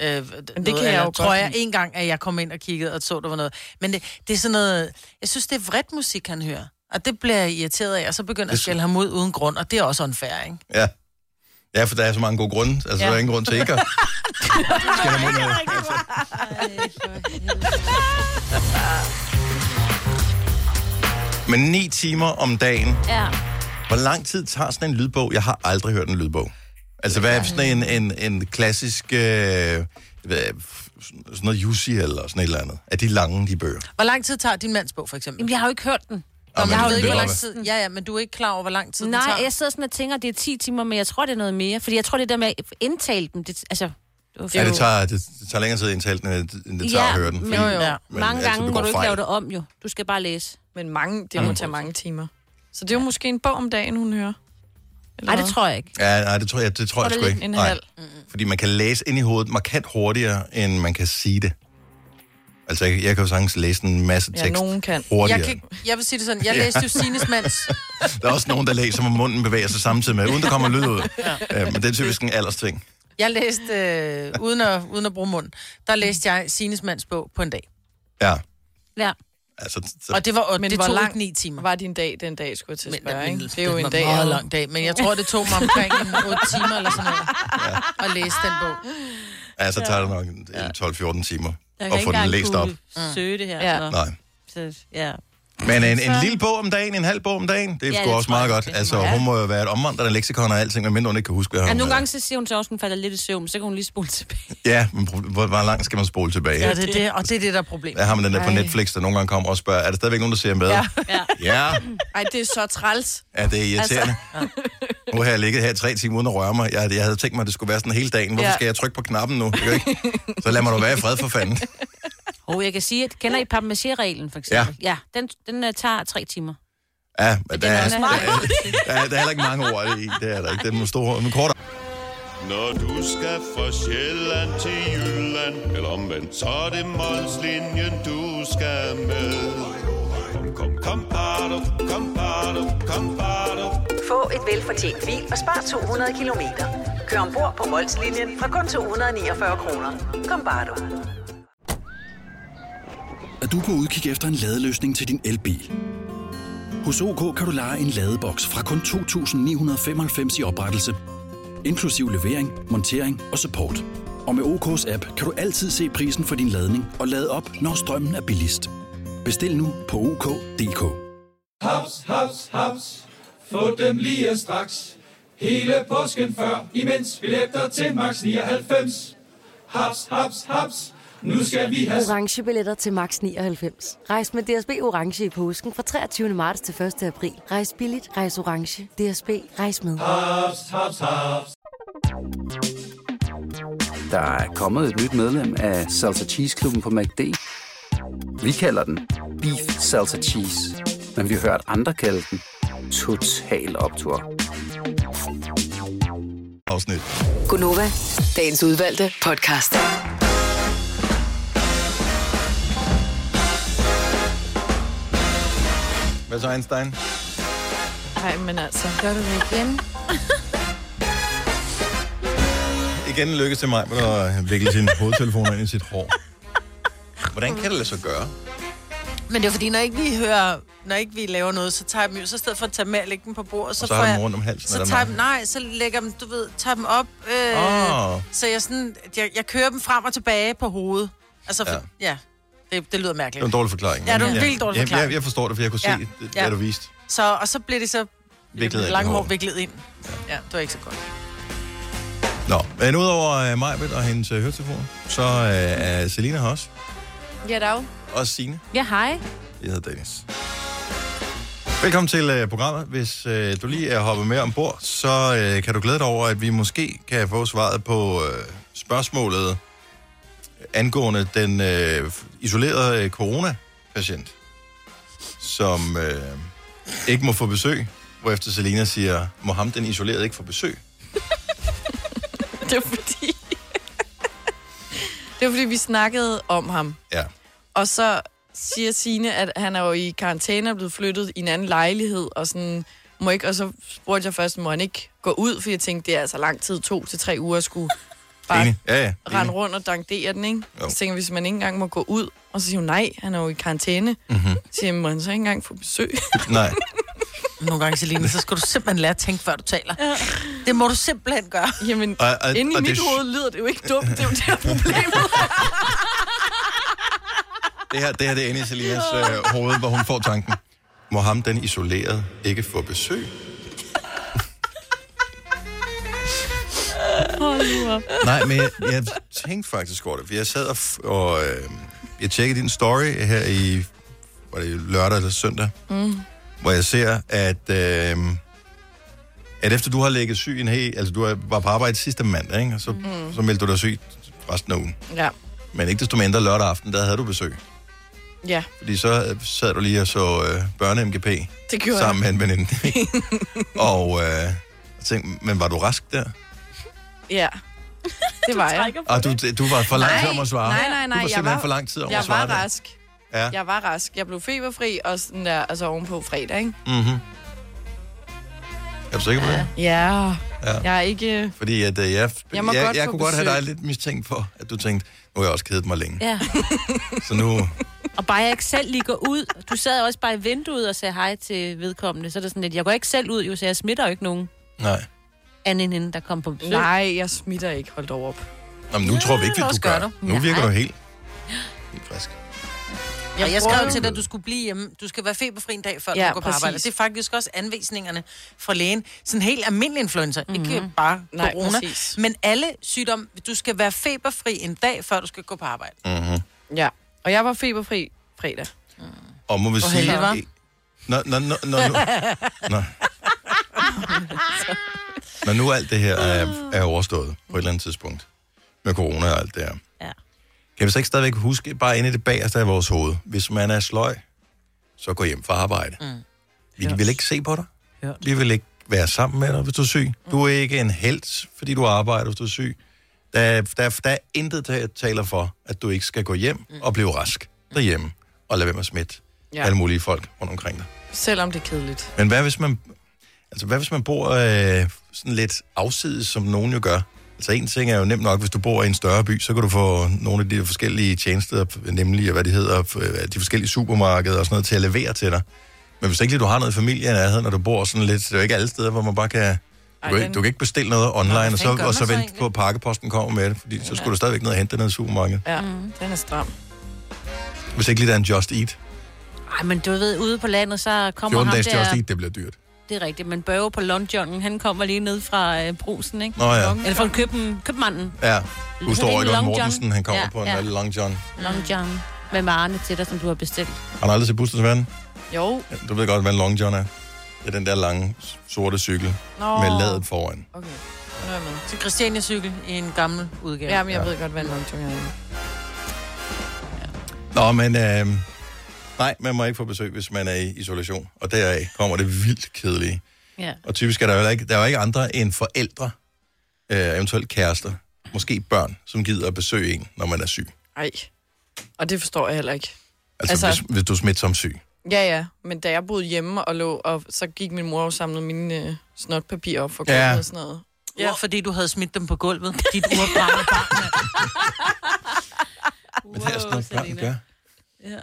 C: Øh,
D: kan
C: det
D: jeg jo godt
C: Tror jeg
D: lide.
C: en gang, at jeg kom ind og kiggede og så, der var noget. Men det, det er sådan noget... Jeg synes, det er vredt musik, han hører. Og det bliver jeg irriteret af, og så begynder jeg at
A: Det-
C: skælde ham ud uden grund, og det er også unfair, ikke?
A: Ja. Ja, for der er så mange gode grunde. Altså, ja. der er ingen grund til ikke at... Skal der mod noget? Men ni timer om dagen,
E: Ja.
A: Hvor lang tid tager sådan en lydbog? Jeg har aldrig hørt en lydbog. Altså, hvad er sådan en, en, en klassisk... Øh, hvad, sådan noget Jussi eller sådan et eller andet? Er de lange, de bøger?
C: Hvor lang tid tager din mands bog, for eksempel?
E: Jamen, jeg har jo ikke hørt den.
A: Nå,
C: jeg
A: men
C: har jo
A: det
C: ikke, hvor
A: ved
C: lang
A: jeg
C: tid... Ja, ja, men du er ikke klar over, hvor lang tid det
E: Nej,
C: tager.
E: jeg sidder sådan og tænker, det er 10 timer, men jeg tror, det er noget mere. Fordi jeg tror, det der med at indtale dem, det, altså... Det var
A: Ja,
E: jo-
A: det tager, det, det tager længere tid at indtale den, end- end det tager at høre den.
E: men,
C: Jo,
A: fordi-
C: jo.
E: Ja.
A: man
E: Mange
A: altid
E: gange må
A: begår
E: du ikke
A: fejl.
E: lave det om, jo. Du skal bare læse.
D: Men mange, det må tage mange timer. Så det er jo måske en bog om dagen, hun hører. Eller
E: Nej, det
D: hvad?
E: tror jeg ikke.
A: Ja, nej, det tror jeg, det tror jeg
D: det
A: sgu
D: lidt
A: ikke.
D: en
A: Nej.
D: halv.
A: Fordi man kan læse ind i hovedet markant hurtigere, end man kan sige det. Altså, jeg, jeg kan jo sagtens læse en masse
D: Ja,
A: tekst
D: nogen kan.
A: hurtigere.
C: Jeg, kan, ikke- jeg vil sige det sådan, jeg læste jo Sines mands...
A: Der er også nogen, der læser, hvor munden bevæger sig samtidig med, uden der kommer lyd ud. Ja. Øh, men det er typisk en aldersting.
C: Jeg læste, øh, uden, at, uden at bruge mund, der læste jeg Sines mands bog på en dag.
A: Ja,
E: Ja.
A: altså, så,
C: Og det, var, men det
D: hvor
C: tog
D: lang
C: ikke ni timer.
D: Var din dag den dag, skulle jeg til at
C: Men,
D: spørge,
C: men,
D: ikke? Det er jo
C: var
D: en dag.
C: meget
D: eller-
C: lang dag, men jeg tror, det tog mig omkring en 8 timer eller sådan noget at læse den bog.
A: Ja, så tager det nok en- en 12-14 timer
E: Jeg
A: at få den læst op.
E: søge det her.
D: Ja.
E: så-
A: Nej.
E: Så, ja.
A: Men en, en lille bog om dagen, en halv bog om dagen, det er
E: Ja,
A: ja, sgu
E: det
A: også
E: tror jeg
A: meget godt.
E: også, det er
A: Altså, hun må jo være et omvandrende leksikon og alting, medmindre hun ikke kan huske, hvad hun...
E: Ja, nogle gange så siger hun så også, at hun falder lidt i søvn, så kan hun lige spole tilbage.
A: Ja, men pro- hvor, hvor langt skal man spole tilbage?
C: Ja,
A: Ja,
C: det er det, og det er det, der er problemet.
A: Der har man den der på
D: Ej.
A: Netflix, der nogle gange kommer og spørger, er der stadigvæk nogen, der ser med? Ja,
E: Ja.
A: ja,
D: Ej, det er så træls.
A: ja
C: Altså.
A: det er irriterende. Nu har jeg ligget her i tre timer uden at røre mig. Jeg, jeg havde tænkt mig, at det skulle være sådan hele dagen. Hvorfor
D: Ja.
A: skal jeg trykke på knappen nu? Jeg kan ikke. Så lad mig nu være i fred for fanden.
E: Og jeg kan sige, at kender I papmaché-reglen, for eksempel? Ja. ja den, den uh, tager tre timer.
A: Ja, men der er,
E: også
A: der,
E: meget
A: er, der, er, der er heller ikke mange ord i. Det er der ikke. Det er nogle store nogle korte
H: Når du skal fra Sjælland til Jylland, eller omvendt, så er det Molslinjen, du skal med. Kom, kom, kom, bado, kom, bado, kom, bado.
I: Få et velfortjent bil og spar 200 kilometer. Kør ombord på Molslinjen fra kun 249 kroner. Kom bare du.
G: Er du på udkig efter en ladeløsning til din elbil? Hos OK kan du lege en ladeboks fra kun 2.995 i oprettelse, inklusiv levering, montering og support. Og med OK's app kan du altid se prisen for din ladning og lade op, når strømmen er billigst. Bestil nu på OK.dk.
J: Haps, haps, haps. Få dem lige straks. Hele påsken før, imens billetter til max 99. Haps, haps, haps. Nu skal vi have
K: Orange billetter til max 99. Rejs med DSB Orange i påsken fra 23. marts til 1. april. Rejs billigt, rejs orange. DSB, rejs med.
J: haps, haps, haps.
L: Der er kommet et nyt medlem af Salsa Cheese Klubben på MACD. Vi kalder den Beef Salsa Cheese, men vi har hørt andre kalde den Total Optor.
A: afsnit.
F: Gunova, dagens udvalgte podcast.
A: Hvad så, Einstein?
B: Nej, men altså, gør du det igen?
A: Igen lykkes det mig med at vikle sin hovedtelefon ind i sit hår. Hvordan kan det lade sig gøre?
C: Men det er fordi, når ikke vi hører, når ikke vi laver noget, så tager jeg dem jo, så i stedet for at tage med og lægge dem på bordet, så,
A: Og så
C: får
A: har du
C: jeg,
A: dem rundt om halsen,
C: så
A: eller
C: tager jeg
A: noget.
C: dem, nej, så lægger dem, du ved, tager dem op, øh,
A: Åh.
C: oh. så jeg sådan, jeg, jeg kører dem frem og tilbage på hovedet. Altså, for,
A: Ja. Øhm.
C: ja, ja det, det, lyder
A: Det
C: mærkeligt.
A: er en dårlig forklaring.
C: Ja, det er en
A: men-
C: vildt dårlig
A: Ja,
C: forklaring.
A: Jeg, jeg forstår det, for jeg kunne se,
C: Ja.
A: ja. det,
C: Ja.
A: ja. du viste.
C: Så, og så bliver det så
A: Viklet ind i
C: lange hår
A: håret.
C: viklet ind. Ja, det var ikke så godt.
A: Nå, men udover uh, Majbet og hendes uh, høretelefoner, så øh, er Selina her også.
D: Ja, dag.
A: Og Signe.
E: Ja, hej.
A: Jeg hedder Dennis. Velkommen til øh, programmet. Hvis øh, du lige er hoppet med ombord, så øh, kan du glæde dig over, at vi måske kan få svaret på øh, spørgsmålet angående den øh, isolerede øh, coronapatient, som øh, ikke må få besøg, hvorefter Selina siger, må ham den isolerede ikke få besøg?
D: Det er fordi... det er fordi, vi snakkede om ham.
A: Ja.
D: Og så siger Sine, at han er jo i karantæne og blevet flyttet i en anden lejlighed, og sådan må ikke, og så spurgte jeg først, må han ikke gå ud, for jeg tænkte, det er altså lang tid, to til tre uger at skulle bare
A: Enig. Ja, ja.
D: rende rundt og dankdere den, ikke? Så tænker jeg, hvis man ikke engang må gå ud, og så siger hun, nej, han er jo i karantæne,
A: Mm-hmm.
D: så siger jeg, må han så ikke engang få besøg?
A: Nej.
C: Nogle gange, Selina, så skal du simpelthen lære at tænke, før du taler. Det må du simpelthen gøre.
D: Jamen,
A: Og- og-
D: inde i
A: og
D: mit
A: det-
D: hoved lyder det jo ikke dumt, det er jo det her problem.
A: Det her, det her det er inde i Selinas øh, hoved, hvor hun får tanken. Må ham den isolerede ikke få besøg?
D: Hold nu op.
A: Nej, men jeg, jeg tænkte faktisk over det, for jeg sad og, f- og øh, jeg tjekkede din story her i var det lørdag eller søndag,
M: Mm.
A: hvor jeg ser, at, øh, at efter du har ligget syg en hel, altså du har- var på arbejde sidste mandag, ikke? Og så, mm.
D: Mm.
A: så meldte du dig syg resten af ugen.
D: Ja,
A: Men ikke desto mindre lørdag aften, der havde du besøg.
D: ja,
A: Fordi så øh, sad du lige og så øh, børne-MGP
D: det gjorde jeg.
A: sammen med en veninde. og øh, jeg tænkte, men var du rask der?
D: Ja, det var jeg.
A: Og du, du var for lang tid om at svare.
D: Nej, nej, nej.
A: Du var
D: jeg
A: simpelthen for lang tid om
D: jeg
A: at svare.
D: var
A: der.
D: rask.
A: Ja.
D: Jeg var rask. Jeg blev feberfri, og sådan der, altså ovenpå fredag, ikke?
A: Mm-hmm. Er du sikker på det?
D: Ja.
A: Ja.
D: Jeg er ikke...
A: Fordi at, øh, jeg, jeg,
D: Jeg må
A: jeg,
D: godt
A: jeg
D: få
A: kunne godt have
D: besøg.
A: dig lidt mistænkt for, at du tænkte, nu har jeg også kedet mig længe.
E: Ja.
A: Så nu,
E: Og bare jeg ikke selv lige går ud. Du sad også bare i vinduet og sagde hej til vedkommende. Så er det sådan lidt, jeg går ikke selv ud, jo, så jeg smitter jo ikke nogen
A: nej.
E: anden end hende, der kom på besøg.
D: Nej, jeg smitter ikke. Hold dog op.
A: Nå, men nu tror vi ikke,
E: det
A: at du
E: også
A: gør.
E: gør
A: det.
E: du.
A: Nu virker
E: Nej.
A: du helt, helt frisk.
C: Jeg, jeg
D: bruger
C: skrev
D: det.
C: til dig, at du skulle blive hjemme. Du skal være feberfri en dag, før
D: Ja,
C: ja, du går på
D: præcis.
C: arbejde. Det er faktisk også anvisningerne fra lægen. Sådan helt almindelig influenza. Mm-hmm. Ikke bare
D: Mhm. Nej,
C: corona.
D: præcis.
C: men alle sygdomme. Du skal være feberfri en dag, før du skal gå på arbejde.
D: Mm.
A: Mm-hmm.
D: Ja, og jeg var feberfri fredag.
A: Og må vi
C: Hvor
A: sige...
C: heldigt, hva'?
A: Når, når, når, når, nu, når, når nu alt det her er, er overstået på et eller andet tidspunkt, med corona og alt det her,
E: Ja.
A: kan vi så ikke stadigvæk huske, bare inde i det bagerste af vores hoved, hvis man er sløj, så gå hjem fra arbejde. Mm. Vi vil ikke se på dig.
C: Hørt.
A: Vi vil ikke være sammen med dig, hvis du er syg. Du er ikke en held, fordi du arbejder, hvis du er syg. Der, er- der, er- der er intet, der taler for, at du ikke skal gå hjem og blive rask derhjemme, og lade være med at smitte ja.
D: Ja.
A: alle mulige folk rundt omkring dig.
D: Selvom det er kedeligt.
A: Men hvad hvis man, altså hvad hvis man bor øh, sådan lidt afsides, som nogen jo gør? Altså en ting er jo nemt nok, hvis du bor i en større by, så kan du få nogle af de forskellige tjenester, nemlig hvad de hedder, øh, de forskellige supermarkeder og sådan noget, til at levere til dig. Men hvis ikke lige du har noget familie i nærheden, når du bor sådan lidt, det er jo ikke alle steder, hvor man bare kan... Du, kan, ikke- du kan ikke bestille noget online,
D: hvad
A: og så,
D: fanden gør
A: og
D: man
A: så
D: så
A: vente på, at pakkeposten kommer med det, fordi så skulle
D: Ja.
A: du stadigvæk ned og hente ned i supermarkedet.
D: Ja, mm. den er stram.
A: Hvis ikke lige der er en Just Eat.
E: Ej, men du ved, ude på landet, så kommer
A: 14
E: ham
A: dages Just
E: der...
A: Eat, det bliver dyrt.
E: Det er rigtigt, men Børge på Lundjongen, han kommer lige ned fra øh, brusen, ikke?
A: Nå ja.
E: Eller fra køben, købmanden.
A: Ja, du
E: Han er
A: står
E: en
A: ikke om
E: long
A: Mortensen,
E: john.
A: han kommer
E: Ja,
A: på en
E: ja.
A: ja. long john.
E: Long John. Med varerne til dig, som du har bestilt.
A: Har du aldrig set Busters Verden?
D: Jo.
A: Ja, Du ved godt, hvad en long john er. Det er den der lange, s- sorte cykel
C: Nå.
A: med ladet foran.
D: Okay. Nu er jeg med.
C: Til Christiania cykel i en gammel udgave.
D: Ja, men jeg ja. ved godt, hvad en long john er.
A: Nå, men øh, nej, man må ikke få besøg, hvis man er i isolation. Og deraf kommer det vildt kedelige.
E: Ja.
A: Og typisk er der jo heller ikke, der er jo ikke andre end forældre, øh, eventuelt kærester, måske børn, som gider at besøge en, når man er syg.
D: Ej. Og det forstår jeg heller ikke.
A: Altså, altså... Hvis, hvis du er smitsom syg.
D: Ja, ja. Men da jeg boede hjemme og lå, og så gik min mor og samlede mine øh, snotpapirer op for
A: Ja.
D: gulvet ja. og sådan noget.
C: Ja, fordi du havde smidt dem på gulvet. Dit urbrændte barn.
A: Men det er sådan noget, børn gør.
D: Ja.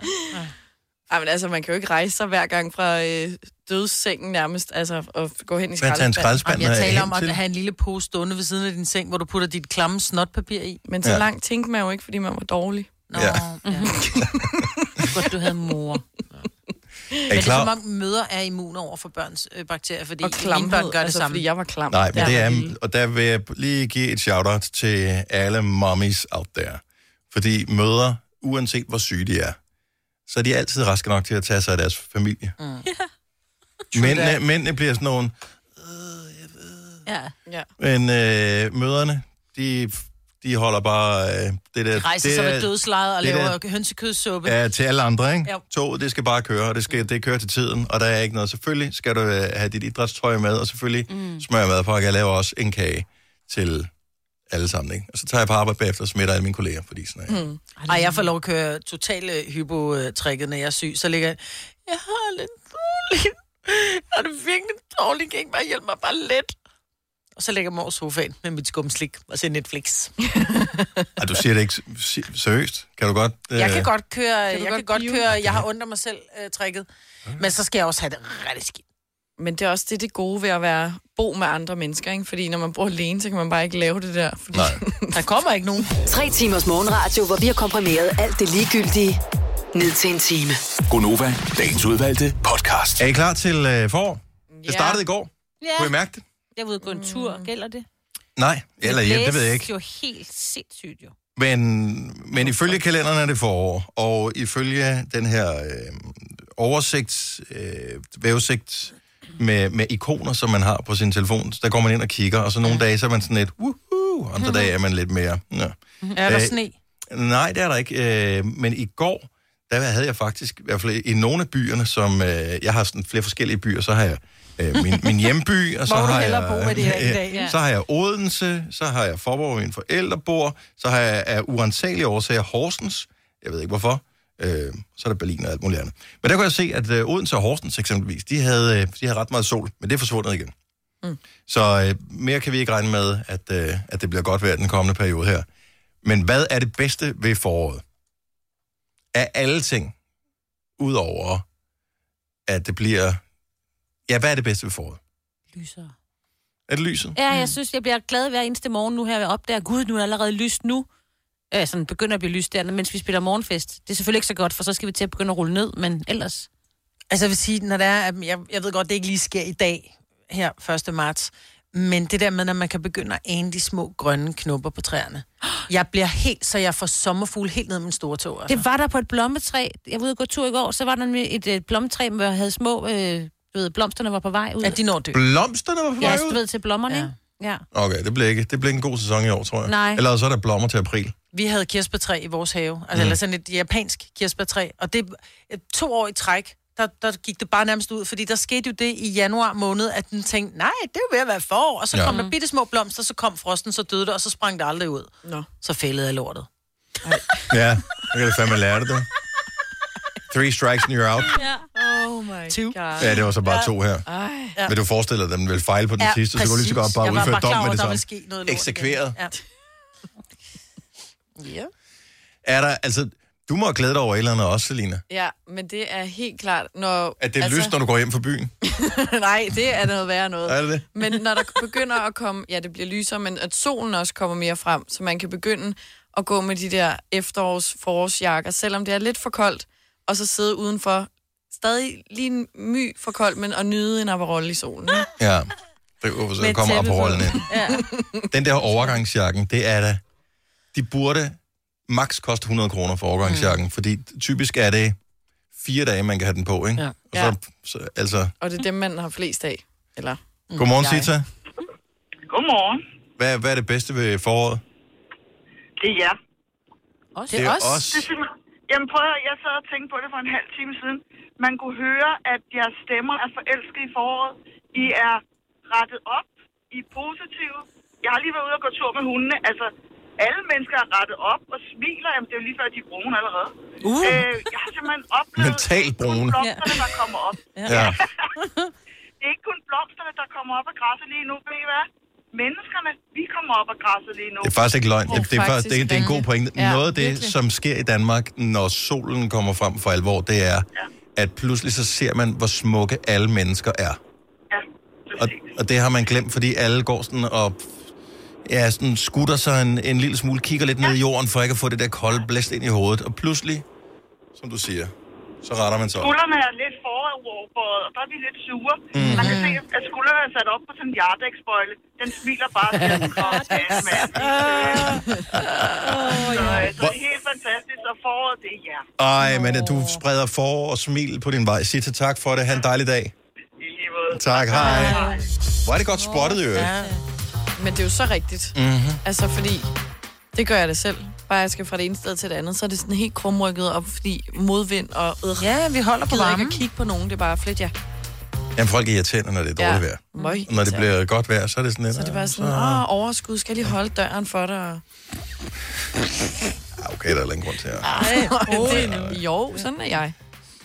D: Ej, men altså, man kan jo ikke rejse sig hver gang fra øh, dødssengen nærmest, altså, og gå hen i
A: Hvad, tage
D: skraldespanden.
A: en
D: Jamen,
A: skraldespand
C: Jeg
A: Hvad er
C: taler
A: hen
C: om at
A: til?
C: have en lille pose stående ved siden af din seng, hvor du putter dit klamme snotpapir i.
D: Men så Ja. langt tænkte man jo ikke, fordi man var dårlig.
C: Nå,
A: Ja.
C: ja. Godt, du havde mor. Men
A: Er
C: det
A: I
C: er som
A: klar?
C: om, møder er immune over for børns øh, bakterier, fordi
D: Og
C: mine børn
D: klamhed,
C: gør det
D: altså,
C: samme.
D: fordi jeg var klam.
A: Nej, men det
C: Mm.
A: er, og der vil jeg lige give et shout-out til alle mommies out there. Fordi mødre, uanset hvor syge de er, så er de altid raske nok til at tage sig af deres familie. Mm. Mændene, mændene bliver sådan nogle,
E: Ja.
D: ja.
A: men øh, møderne, de, de holder bare øh, det der...
C: De rejser sig
A: det
C: ved
A: er-
C: dødslejet og
A: det
C: laver
A: der-
C: hønsekødssuppe.
A: Ja, til alle andre, ikke?
C: Ja.
A: Toget, det skal bare køre, og det, skal, det kører til tiden, og der er ikke noget. Selvfølgelig skal du øh, have dit idrætstøj med, og selvfølgelig mm. smør med, for jeg laver også en kage til alle sammen, ikke? Og så tager jeg på arbejde bagefter og smitter alle mine kolleger, fordi sådan er jeg.
C: Mm. Ej, jeg får lov at køre totalt øh, hypotrækket, når jeg er syg. Så ligger jeg, jeg har lidt dårligt. Jeg har det virkelig dårligt. Kan I ikke bare hjælpe mig bare lidt? Og så lægger jeg mig over sofaen med mit skumslik og ser Netflix.
A: Ej, du siger det ikke se- seriøst. Kan du godt... Øh,
C: Jeg kan godt køre,
D: Kan
C: kan
D: du
C: jeg
D: godt
C: kan godt
D: blive?
C: køre, jeg har ondt af mig selv øh, trækket. Men så skal jeg også have det rigtig skidt.
D: Men det er også det, det gode ved at være bo med andre mennesker, ikke? Fordi når man bor alene, så kan man bare ikke lave det der. Fordi
A: Nej.
D: der kommer ikke nogen.
F: Tre timers morgenradio, hvor vi har komprimeret alt det ligegyldige ned til en time.
G: Gonova, dagens udvalgte podcast.
A: Er I klar til øh, forår? Det startede i går.
E: Ja.
A: Kunne I mærke det?
E: Jeg var ude og gå en tur, gælder det?
A: Nej, eller ja, det ved jeg ikke.
E: Det er jo helt sindssygt, jo.
A: Men, men ifølge kalenderen er det forår, og ifølge den her øh, oversigt, øh, vævesigt med, med ikoner, som man har på sin telefon, der går man ind og kigger, og så nogle dage, så er man sådan lidt, woohoo, andre dage er man lidt mere, ja.
C: Er der
A: Øh,
C: sne?
A: Nej, det er der ikke. Øh, men i går, der havde jeg faktisk, i hvert fald i nogle af byerne, som øh, jeg har sådan flere forskellige byer, så har jeg øh, min, min hjemby, og så
C: Hvor vil du
A: har
C: hellere
A: jeg,
C: bo, er det her i
A: øh,
C: dag, ja.
A: så har jeg Odense, så har jeg Forborg, hvor mine forældre bor, så har jeg af urensagelige årsager Horsens, jeg ved ikke hvorfor, øh, så er der Berlin og alt muligt andet. Men der kunne jeg se, at øh, Odense og Horsens eksempelvis, de havde, øh, de havde ret meget sol, men det er forsvundet igen.
D: Mm.
A: Mm. Så øh, mere kan vi ikke regne med, at, øh, at det bliver godt vejr den kommende periode her. Men hvad er det bedste ved foråret? Af alle ting, udover at det bliver... Ja, hvad er det bedste ved foråret?
E: Lyser.
A: Er det lyset?
E: Ja, jeg synes, jeg bliver glad hver eneste morgen nu her, jeg opdager, gud, nu er det allerede lyst nu. Ja, sådan begynder at blive lyst der, mens vi spiller morgenfest. Det er selvfølgelig ikke så godt, for så skal vi til at begynde at rulle ned, men ellers...
C: Altså jeg vil sige, når der er, at jeg, jeg ved godt, det ikke lige sker i dag, her 1. marts, men det der med, når man kan begynde at ane de små grønne knopper på træerne. Jeg bliver helt, så jeg får sommerfugl helt ned med min store tog. Altså.
E: Det var der på et blommetræ. Jeg var ude og gå tur i går, så var der nemlig et, et blommetræ, hvor jeg havde små... Øh, du ved, blomsterne var på vej ud.
C: Ja, de når dø.
A: Blomsterne var på
E: Ja,
A: vej
E: altså, du
A: ud?
E: ved, til blommerne, ja. ja.
A: Okay, det bliver ikke. Det bliver ikke en god sæson i år, tror jeg.
C: Nej.
A: Eller så er der blommer til april.
C: Vi havde kirsebærtræ i vores have, altså
A: Mm.
C: mm. eller sådan et japansk kirsebærtræ, og det to år i træk, der, der gik det bare nærmest ud, fordi der skete jo det i januar måned, at den tænkte, nej, det er jo ved at være forår, og så
A: Ja.
C: ja. kom der
A: Mm.
C: bitte små blomster, så kom frosten, så døde det, og så sprang det aldrig ud.
D: Nå.
C: Så fældede jeg lortet.
A: Ja, så kan det fandme lære det, du. Three strikes and you're out.
E: Ja.
D: Oh my Two. god.
A: Ja, det var så bare to her.
D: Ej.
A: Men du forestiller dig, at den ville fejle på den
C: Ja,
A: sidste, så kunne du lige så
C: præcis.
A: godt bare
C: Jeg var
A: udføre
C: bare klar
A: dommen
C: over,
A: med det
C: der
A: samme.
C: ville ske noget lort igen.
A: Eksekveret.
C: Ja. ja.
A: Er der, altså, du må glæde dig over et eller andet også, Selina.
D: Ja, men det er helt klart, når...
A: At det er altså... lyst, når du går hjem fra byen.
D: Nej, det er noget værre noget.
A: Er det det?
D: Men når der begynder at komme... Ja, det bliver lysere, men at solen også kommer mere frem, så man kan begynde at gå med de der efterårs forårsjakker, selvom det er lidt for koldt, og så sidde udenfor stadig lige en my for koldt, men at nyde en Aperol i solen. ikke?
A: Ja. Det er, så kommer op på rollen ind.
D: Ja.
A: Den der overgangsjakken, det er da... De burde maks koste 100 kroner for overgangsjakken, mm. fordi typisk er det fire dage, man kan have den på, ikke?
D: Ja.
A: Og så, så, altså,
D: Og det er dem, man har flest af. Eller, mm,
A: godmorgen,
D: jeg.
A: Sita.
M: Godmorgen.
A: Hvad, hvad er det bedste ved foråret?
M: Det er jer.
A: Os? Det er os.
M: Det er simpelthen- Jamen prøv at høre, jeg sad og tænkte på det for en halv time siden. Man kunne høre, at jeres stemmer er forelsket i foråret. I er rettet op. I er positive. Jeg har lige været ude og gå tur med hundene. Altså, alle mennesker er rettet op og smiler. Jamen, det er jo lige før, de er brune allerede.
A: Uh.
M: Øh, jeg har simpelthen oplevet
A: Mentalt brune.
M: blomsterne, der kommer op.
A: Ja.
M: det er ikke kun blomsterne, der kommer op af græsset lige nu, ved I hvad? Menneskerne, vi kommer op af græsset lige nu.
A: Det er faktisk ikke løgn.
M: Og
A: Det, det, er, faktisk, det, er, det er en god
M: ringe.
A: pointe.
M: Ja,
A: Noget af det,
M: virkelig.
A: som sker i Danmark, når solen kommer frem for alvor, det er, at pludselig så ser man, hvor smukke alle mennesker er. Og, og det har man glemt, fordi alle går sådan og ja, sådan skutter sig en, en lille smule, kigger lidt ned i jorden, for ikke at få det der kolde blæst ind i hovedet. Og pludselig, som du siger, så retter man sig op.
M: Skuldrene er lidt foroverbøjet, og der er vi lidt sure.
C: Mhm.
M: Mm. Man kan se, at skuldrene er sat op på sådan en jardeksbøjle. Den smiler bare til den kommer til alle mand. Så, øh, så det er helt fantastisk, og foråret, det er jer.
A: Ej, men at du spreder forår og smil på din vej. Sig til tak for det. Ha' en dejlig dag. Tak, hej. Hvor er det godt spottet, jo.
D: Ja. Men det er jo så rigtigt.
A: Mhm.
D: Altså, fordi det gør jeg det selv. Bare jeg skal fra det ene sted til det andet, så er det sådan helt krumrykket op, fordi modvind og... Øh,
C: ja, vi holder
D: på varmen. ikke at kigge på nogen, det er bare flit, ja.
A: Jamen, folk er irriterende, når det er
D: Ja.
A: dårligt vejr.
D: Møg
A: Og Når det bliver godt vejr, så er det sådan lidt...
D: Så det var sådan, åh, overskud, skal jeg lige holde døren for dig? og-
A: "Ah, Okay, der er heller ingen grund til
D: Ej,
A: at...
D: det, jo, sådan er jeg.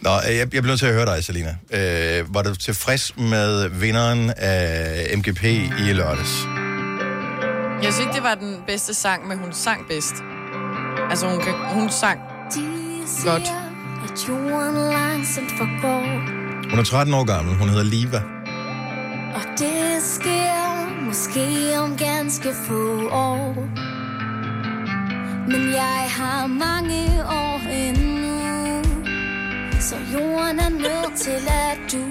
A: Nå, øh, jeg, jeg bliver nødt til at høre dig, Selina. Øh, var du tilfreds med vinderen af MGP i lørdags?
D: Jeg synes ikke, det var den bedste sang, men hun sang bedst. Altså, hun, kan, hun sang godt.
A: Hun er 13 år gammel. Hun hedder Liva.
N: Og det sker måske om ganske få år. Men jeg har mange år endnu. Så jorden er nødt til at du.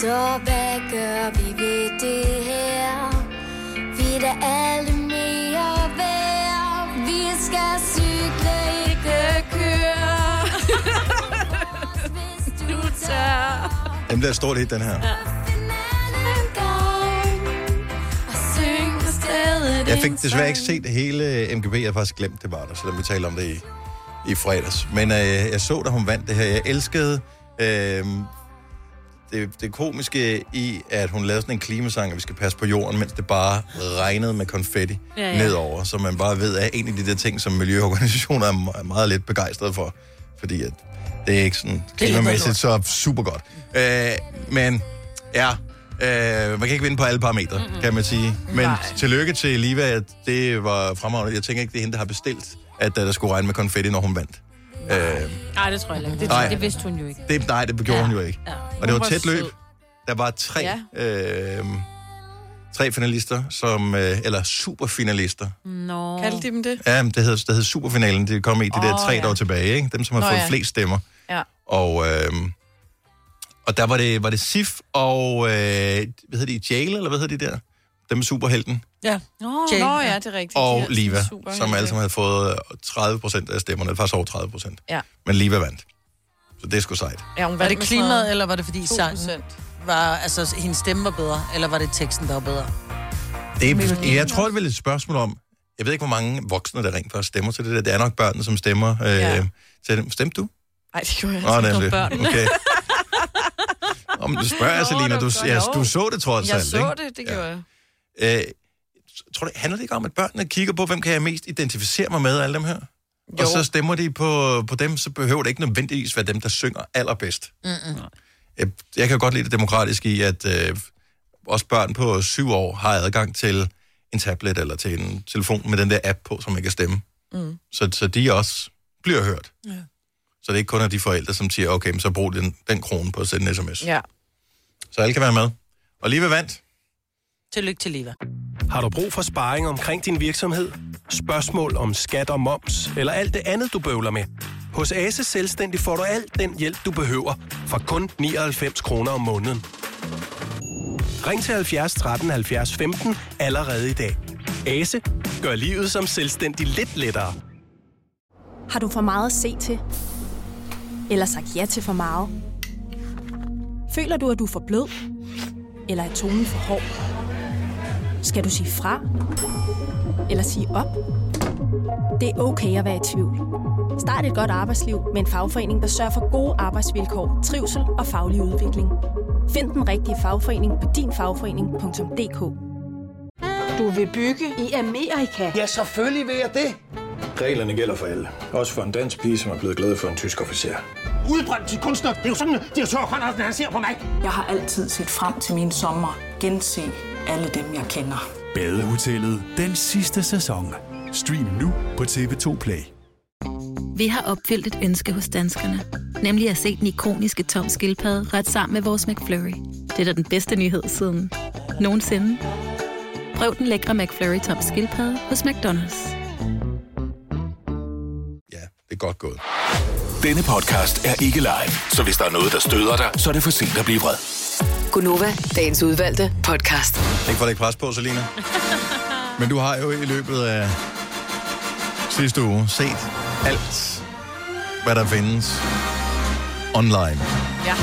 N: Så hvad gør vi ved det her? Vi er da alle mere værd. Vi skal cykle, ikke køre. Hvis du tager
A: Den bliver et stort hit, den her. Jeg fik desværre ikke set hele MGP. Jeg har faktisk glemt, det var der, selvom vi talte om det i, i fredags. Men øh, jeg så, da hun vandt det her. Jeg elskede øh, det, det komiske i, at hun lavede sådan en klimasang, at vi skal passe på jorden, mens det bare regnede med konfetti
O: Ja,
A: ja,
O: ja.
A: ja. nedover. Så man bare ved, at en af de der ting, som miljøorganisationer er me- er meget lidt begejstrede for. Fordi at det er ikke sådan
O: Det er lidt
A: klimamæssigt så super godt. Øh, men ja, øh, man kan ikke vinde på alle parametre, mm-hmm. kan man sige. Men Nej. tillykke til Liva, det var fremragende. Jeg tænker ikke, det er hende, der har bestilt, at øh, der skulle regne med konfetti, når hun vandt. Øh,
E: Nej, det tror jeg ikke. Det,
A: Nej.
E: det vidste hun jo ikke.
A: det, nej, det gjorde ja. hun jo ikke. Ja. Og
E: Hun
A: det var
E: var
A: tæt løb.
E: sød.
A: Der var tre, ja. øh, tre finalister, som, øh, eller superfinalister.
E: Nå.
D: Kaldte de dem det?
A: Ja, men det hed, det hed superfinalen. Det kom i de oh, der
D: Åh,
A: tre,
D: ja.
A: der var tilbage. Ikke? Dem, som har
D: Nå,
A: Nå, fået
D: ja.
A: ja. flest stemmer.
D: Ja.
A: Og, øh, og der var det, var det Sif og, øh, hvad hedder de, Jail, eller hvad hedder de der? Dem med superhelten.
C: Ja.
D: Nå,
C: Jane,
D: nå
C: ja.
D: ja, det er rigtigt. De
A: Og
D: er
A: Liva,
D: super
A: som
D: heldige.
A: alle sammen havde fået øh, 30 procent af stemmerne. Faktisk over 30 procent.
D: Ja.
A: Men Liva vandt. Så det er sgu sejt.
D: Ja, hun
C: Var
D: vandt
C: det
D: med
C: klimaet,
D: sådan
C: eller var det fordi
D: 2%?
C: sangen var, altså hendes stemme var bedre, eller var det teksten, der var bedre?
A: Det er, jeg tror, det er vel et spørgsmål om, jeg ved ikke, hvor mange voksne, der rent faktisk stemmer til det der. Det er nok børnene, som stemmer øh, ja. til dem. Stemte du?
D: Nej, det gjorde jeg
A: Åh,
D: altså ikke.
A: Ah,
D: Det
A: nemlig.
D: var børn.
A: Okay. Om du spørger, Selina, du, ja, du så det trods
D: jeg
A: alt,
D: så
A: ikke?
D: det, det gjorde jeg.
A: Øh, tror du, handler det ikke om, at børnene kigger på, hvem kan jeg mest identificere mig med af alle dem her? Jo. Og så stemmer de på, på dem, så behøver det ikke nødvendigvis være dem, der synger allerbedst.
C: Mm-mm.
A: Jeg, jeg kan godt lide det demokratiske i, at øh, også børn på syv år har adgang til en tablet eller til en telefon med den der app på, som man kan stemme.
O: Mm.
A: Så, så de også bliver hørt.
O: Ja.
A: Så det er ikke kun er de forældre, som siger, okay, men så brug den, den krone på at sende en sms.
D: Ja.
A: Så alle kan være med. Og lige ved vandt.
C: Tillykke til Liva.
P: Har du brug for sparring omkring din virksomhed? Spørgsmål om skat og moms, eller alt det andet, du bøvler med? Hos Ase Selvstændig får du alt den hjælp, du behøver, for kun 99 kroner om måneden. Ring til 70 13 70 15 allerede i dag. Ase gør livet som selvstændig lidt lettere.
Q: Har du for meget at se til? Eller sagt ja til for meget? Føler du, at du er for blød? Eller er tonen for hård? Skal du sige fra? Eller sige op? Det er okay at være i tvivl. Start et godt arbejdsliv med en fagforening, der sørger for gode arbejdsvilkår, trivsel og faglig udvikling. Find den rigtige fagforening på dinfagforening.dk
O: Du vil bygge i Amerika? Ja, selvfølgelig vil jeg det.
R: Reglerne gælder for alle. Også for en dansk pige, som er blevet glad for en tysk officer.
O: Udbrændt til kunstner. Det er jo sådan, at de har Conradsen, han ser på mig.
S: Jeg har altid set frem til min sommer. Gense alle dem, jeg kender.
T: Badehotellet den sidste sæson. Stream nu på TV2 Play.
U: Vi har opfyldt et ønske hos danskerne. Nemlig at se den ikoniske tom skildpadde ret sammen med vores McFlurry. Det er da den bedste nyhed siden nogensinde. Prøv den lækre McFlurry tom skildpadde hos McDonald's.
A: Det er godt gået.
V: Denne podcast er ikke live, så hvis der er noget, der støder dig, så er det for sent at blive vred.
F: Gunova, dagens udvalgte podcast.
A: Ikke for at lægge pres på, Selina. Men du har jo i løbet af sidste uge set alt, hvad der findes online.
C: Ja.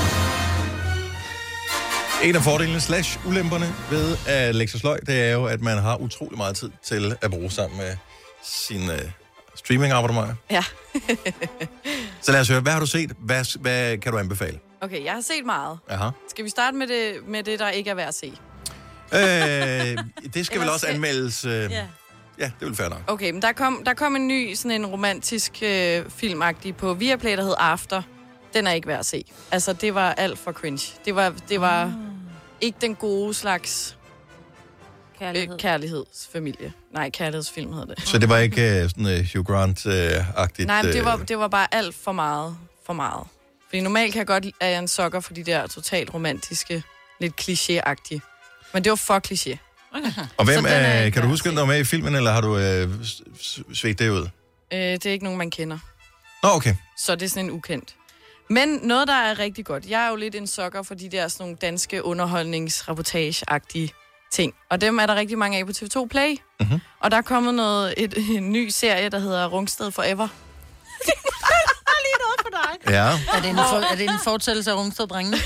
A: En af fordelene slash ulemperne ved at lægge sig sløj, det er jo, at man har utrolig meget tid til at bruge sammen med sin øh, streaming abonnement.
D: Ja.
A: Så lad os høre, hvad har du set? Hvad, hvad kan du anbefale?
D: Okay, jeg har set meget.
A: Aha.
D: Skal vi starte med det, med det der ikke er værd at se?
A: Øh, det skal vel også anmeldes... Øh,
D: Ja.
A: ja, det vil være nok.
D: Okay, men der kom, der kom en ny, sådan en romantisk øh, filmagtig på Viaplay, der hed After. Den er ikke værd at se. Altså, det var alt for cringe. Det var, det var ikke den gode slags kærlighed. Øh, kærlighedsfamilie. Nej, kærlighedsfilm hed det.
A: Så det var ikke øh, sådan øh, Hugh Grant-agtigt? øh,
D: Nej, men det var, det var bare alt for meget. For meget. Fordi normalt kan jeg godt lide, at jeg er en sokker for de der totalt romantiske, lidt kliché-agtige. Men det var for kliché.
A: Og hvem er, kan du huske, om der var med i filmen, eller har du øh, s- s- svedt det ud?
D: Øh, det er ikke nogen, man kender.
A: Nå, okay.
D: Så det er sådan en ukendt. Men noget, der er rigtig godt. Jeg er jo lidt en sokker for de der sådan nogle danske underholdningsreportage-agtige ting. Og dem er der rigtig mange af på TV2 Play.
A: Mhm.
D: Mm-hmm. Og der er kommet noget, et, en ny serie, der hedder Rungsted Forever.
C: Lige noget for dig.
A: Ja.
C: Er det en, for, er det en fortællelse af Rungsted Drengene?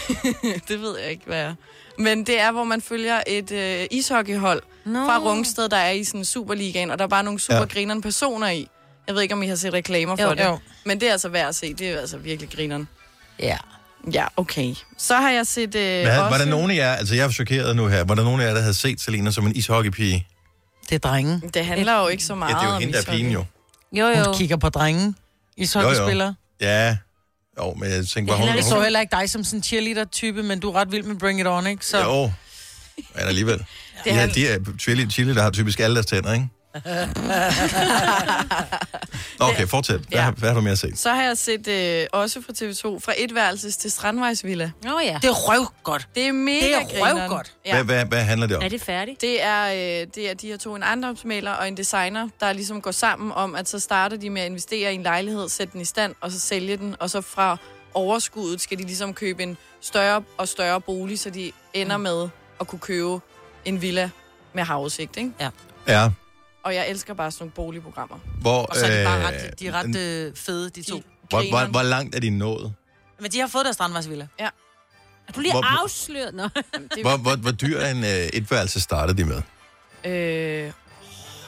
D: det ved jeg ikke, hvad er. Men det er, hvor man følger et øh, ishockeyhold no. fra Rungsted, der er i sådan Superligaen, og der er bare nogle super
C: Ja.
D: grinerne personer i. Jeg ved ikke, om I har set reklamer for
C: Jo,
D: det.
C: jo.
D: Men det er altså værd at se. Det er altså virkelig grineren.
C: Ja.
D: Ja, okay. Så har jeg set øh,
A: Hvad,
D: også...
A: var der nogen af jer, altså jeg er chokeret nu her, var der nogen af jer, der havde set Selina som en ishockeypige?
C: Det er drenge.
D: Det handler jo ikke så
A: Ja,
D: meget
A: det er jo
D: om
A: hende, der
D: Ah,
A: er
D: ishockey.
A: pigen jo.
C: Jo, jo. Hun kigger på drenge. Ishockeyspillere.
A: Ja, jo, men jeg tænkte,
C: Jeg
A: var hun...
C: heller- så
A: hun-
C: heller ikke dig som sådan en cheerleader-type, men du er ret vild med Bring It On, ikke? Så...
A: Jo, men alligevel.
C: Det
A: Det
C: er
A: ja,
C: han-
A: de er chili, chili, der har typisk alle deres tænder, ikke? Nå, okay, fortsæt. Hvad, ja. hvad har du mere set?
D: Så har jeg set øh, også fra TV2, fra etværelses til Strandvejsvilla.
E: Åh oh, ja.
C: Det er røvgodt.
D: Det er mega
E: Det er
D: grineren.
E: røvgodt.
A: Hvad, hvad, hvad handler det om?
E: det færdigt?
D: Det er, øh, det er de her to, en ejendomsmaler og en designer, der ligesom går sammen om, at så starter de med at investere i en lejlighed, sætte den i stand, og så sælge den, og så fra overskuddet skal de ligesom købe en større og større bolig, så de
E: Mm.
D: ender med at kunne købe en villa med havudsigt, ikke?
C: Ja.
A: Ja,
D: Og jeg elsker bare sådan nogle boligprogrammer.
A: hvor... øh,
D: Og så er de bare ret-
C: De er ret øh, fede, de to.
A: hvor, hvor, hvor langt er de nået?
C: Men de har fået deres strandvejsvilla.
D: Ja.
E: Er du lige
A: Hvor-
E: afsløret? Nå.
A: Hvor, hvor, hvor dyr en øh, etværelse startede de med?
D: Øh...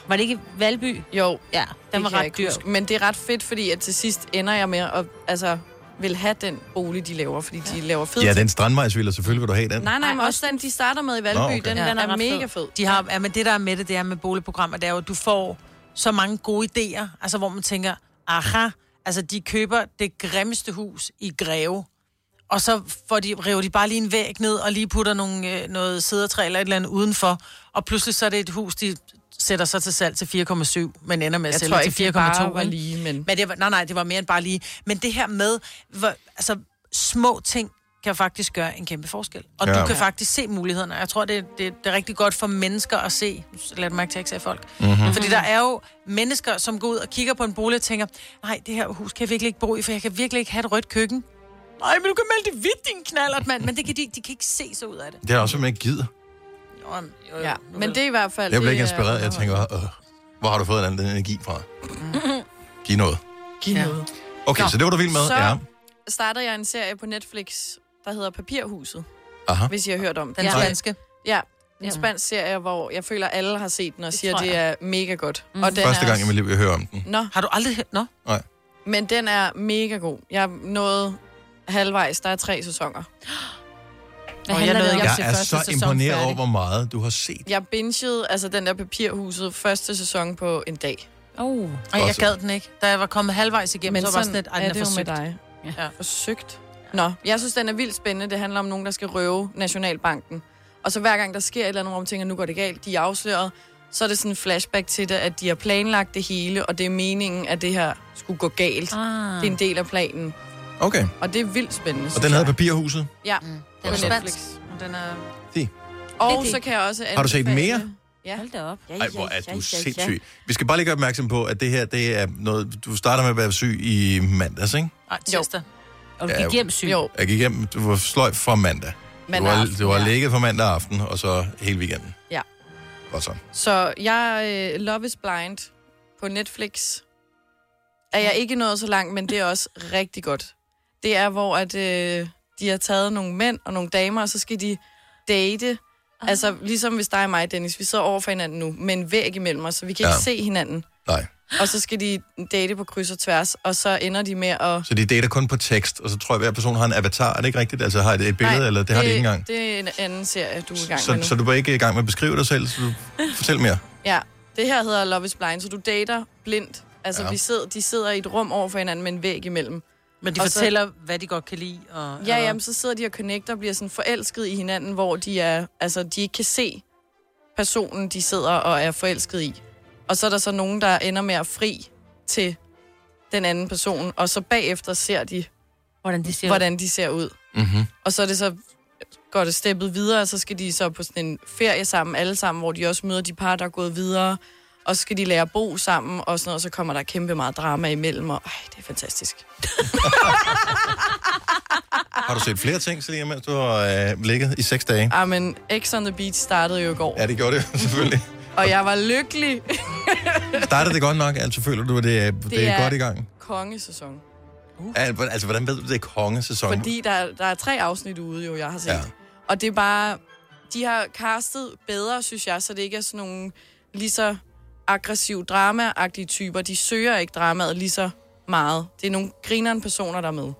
E: Var det ikke Valby?
D: Jo.
E: Ja, den var
D: kan jeg
E: ret
D: ikke
E: dyr.
D: huske. Men det er ret fedt, fordi at til sidst ender jeg med at altså, vil have den bolig, de laver, fordi de laver fede
A: Ja,
D: ting.
A: den strandvejsvilla, selvfølgelig vil du have den.
D: Nej, nej, men også den, de starter med i Valby,
A: Nå,
D: Nå,
A: okay.
D: okay. den, ja, den er, er mega fed.
C: De har, ja, men det, der er med det, det er med boligprogrammer, det er jo, at du får så mange gode idéer, altså hvor man tænker, aha, altså de køber det grimmeste hus i Greve, og så får de, river de bare lige en væg ned, og lige putter nogle, øh, noget sædertræ eller et eller andet udenfor, og pludselig så er det et hus, de sætter sig til salg til 4,7, men ender med at
D: Jeg
C: sælge
D: tror
C: til
D: ikke,
C: 4,2.
D: det bare var
C: ikke?
D: lige, men...
C: men det var, nej, nej, det var mere end bare lige. Men det her med, hvor, altså små ting kan faktisk gøre en kæmpe forskel. Og
W: Ja.
C: ja. du kan
W: Ja.
C: faktisk se mulighederne. Jeg tror, det, det, det er rigtig godt for mennesker at se. Lad det mærke til, at jeg ikke sagde folk.
W: Mhm.
C: Mm-hmm. Fordi der er jo mennesker, som går ud og kigger på en bolig og tænker, nej, det her hus kan jeg virkelig ikke bo i, for jeg kan virkelig ikke have et rødt køkken. Nej, men du kan melde det vidt, din knallert, mand. Men det kan de, ikke- de kan ikke se så ud af det.
A: Det er også, hvad man ikke gider.
D: Ja, men det er i hvert fald...
A: Jeg bliver ikke
D: det er-
A: inspireret. Jeg tænker, øh, hvor har du fået den, den energi fra? Giv noget.
D: Giv noget.
A: Okay,
D: Nå,
A: så det var du vild med.
D: Så
A: Ja.
D: starter jeg en serie på Netflix, der hedder Papirhuset.
A: Aha.
D: Hvis I har hørt om den.
C: Den
D: ja.
C: spanske.
D: Ja, en spansk serie, hvor jeg føler, alle har set den og siger,
C: tror
D: det
C: jeg.
D: er mega godt. Mm. Og den
A: Første
D: er
A: gang i mit liv, jeg hører om den.
D: Nå.
C: Har du aldrig hørt? Nå.
A: Nej.
D: Men den er mega god. Jeg nåede halvvejs. Der er tre sæsoner.
C: Hvad
D: Og jeg
C: handler det
D: nåede
C: om?
D: ikke at
A: Jeg
D: se
A: er
D: første
A: så
D: sæson
A: imponeret
D: færdig.
A: over, hvor meget du har set.
D: Jeg bingede altså den der papirhuset første sæson på en dag.
C: Oh. Og jeg gad den ikke. Da jeg var kommet halvvejs igennem,
D: Men
C: så var jeg
D: sådan
C: sådan lidt, ej,
D: er
C: den
D: det
C: er
D: jo
C: forsøgt.
D: med dig. Ja. Forsøgt. Nå, jeg synes, den er vildt spændende. Det handler om nogen, der skal røve Nationalbanken. Og så hver gang, der sker et eller andet, hvor man tænker, nu går det galt, de er afsløret, så er det sådan en flashback til det, at de har planlagt det hele, og det er meningen, at det her skulle gå galt.
E: Ah.
D: Det er en del af planen.
A: Okay.
D: Og det er vildt spændende.
A: Og
D: synes
A: den hedder
D: jeg.
A: Papirhuset.
D: Ja, mm. den
A: er
D: Den er...
A: Det.
D: Og så kan jeg også
A: Har du set
D: anbefale-
A: mere?
D: Ja. Hold da op. Ja,
A: Ej, hvor er du sindssyg. Vi skal bare lige gøre opmærksom på, at det her, det er noget... Du starter med at være syg i mandags, ikke?
C: Nej, tirsdag.
E: Og
A: du gik Ja. hjem
E: syg.
D: Jo.
A: Jeg gik hjem, du var sløjt fra mandag.
D: Mandag
A: du var,
D: aften,
A: du var
D: ja.
A: ligget fra mandag aften, og så hele weekenden.
D: Ja.
A: Godt så.
D: Så jeg øh, Love is Blind på Netflix. Er jeg ikke nået så langt, men det er også rigtig godt. Det er, hvor at, øh, de har taget nogle mænd og nogle damer, og så skal de date. Altså, ligesom hvis dig og mig, Dennis, vi sidder over for hinanden nu, med en væg imellem os, så vi kan
A: Ja.
D: ikke se hinanden.
A: Nej.
D: Og så skal de date på kryds og tværs, og så ender de med at...
A: Så de dater kun på tekst, og så tror jeg, at hver person har en avatar. Er det ikke rigtigt? Altså har et, et billede, Nej, eller det har de ikke engang?
D: Det er en anden serie, du er i gang med
A: Så,
D: nu.
A: så du var ikke i gang med at beskrive dig selv, så du fortæl mere.
D: Ja, det her hedder Love is Blind, så du dater blindt. Altså,
A: Ja.
D: ja. vi sidder, de sidder i et rum over for hinanden med en væg imellem.
C: Men de
D: Og
C: fortæller, hvad de godt kan lide. Og,
D: Så, ja, jamen, så sidder de og connecter og bliver sådan forelsket i hinanden, hvor de er, altså, de ikke kan se personen, de sidder og er forelsket i. Og så er der så nogen, der ender med at fri til den anden person, og så bagefter ser de,
E: hvordan de ser,
D: hvordan de ser ud.
A: Mm-hmm.
D: Og så er det så går det steppet videre, og så skal de så på sådan en ferie sammen, alle sammen, hvor de også møder de par, der er gået videre, og så skal de lære at bo sammen, og sådan noget, og så kommer der kæmpe meget drama imellem, og ej, det er fantastisk.
A: Har du set flere ting, Selina, mens du har øh, ligget i seks dage?
D: Ah, men X on the Beach startede jo i går,
A: Ja, det gjorde det selvfølgelig.
D: og jeg var lykkelig.
A: Startede det godt nok? Altså føler du, at det, er- det, det er, er godt i gang?
D: kongesæson.
A: Al- Altså, hvordan ved du, det er kongesæson?
D: Fordi der, er- der er tre afsnit ude, jo, jeg har set.
A: Ja.
D: Ja. Og det er bare... De har castet bedre, synes jeg, så det ikke er sådan nogle lige så aggressiv drama-agtige typer. De søger ikke dramaet lige så meget. Det er nogle grineren personer, der er med.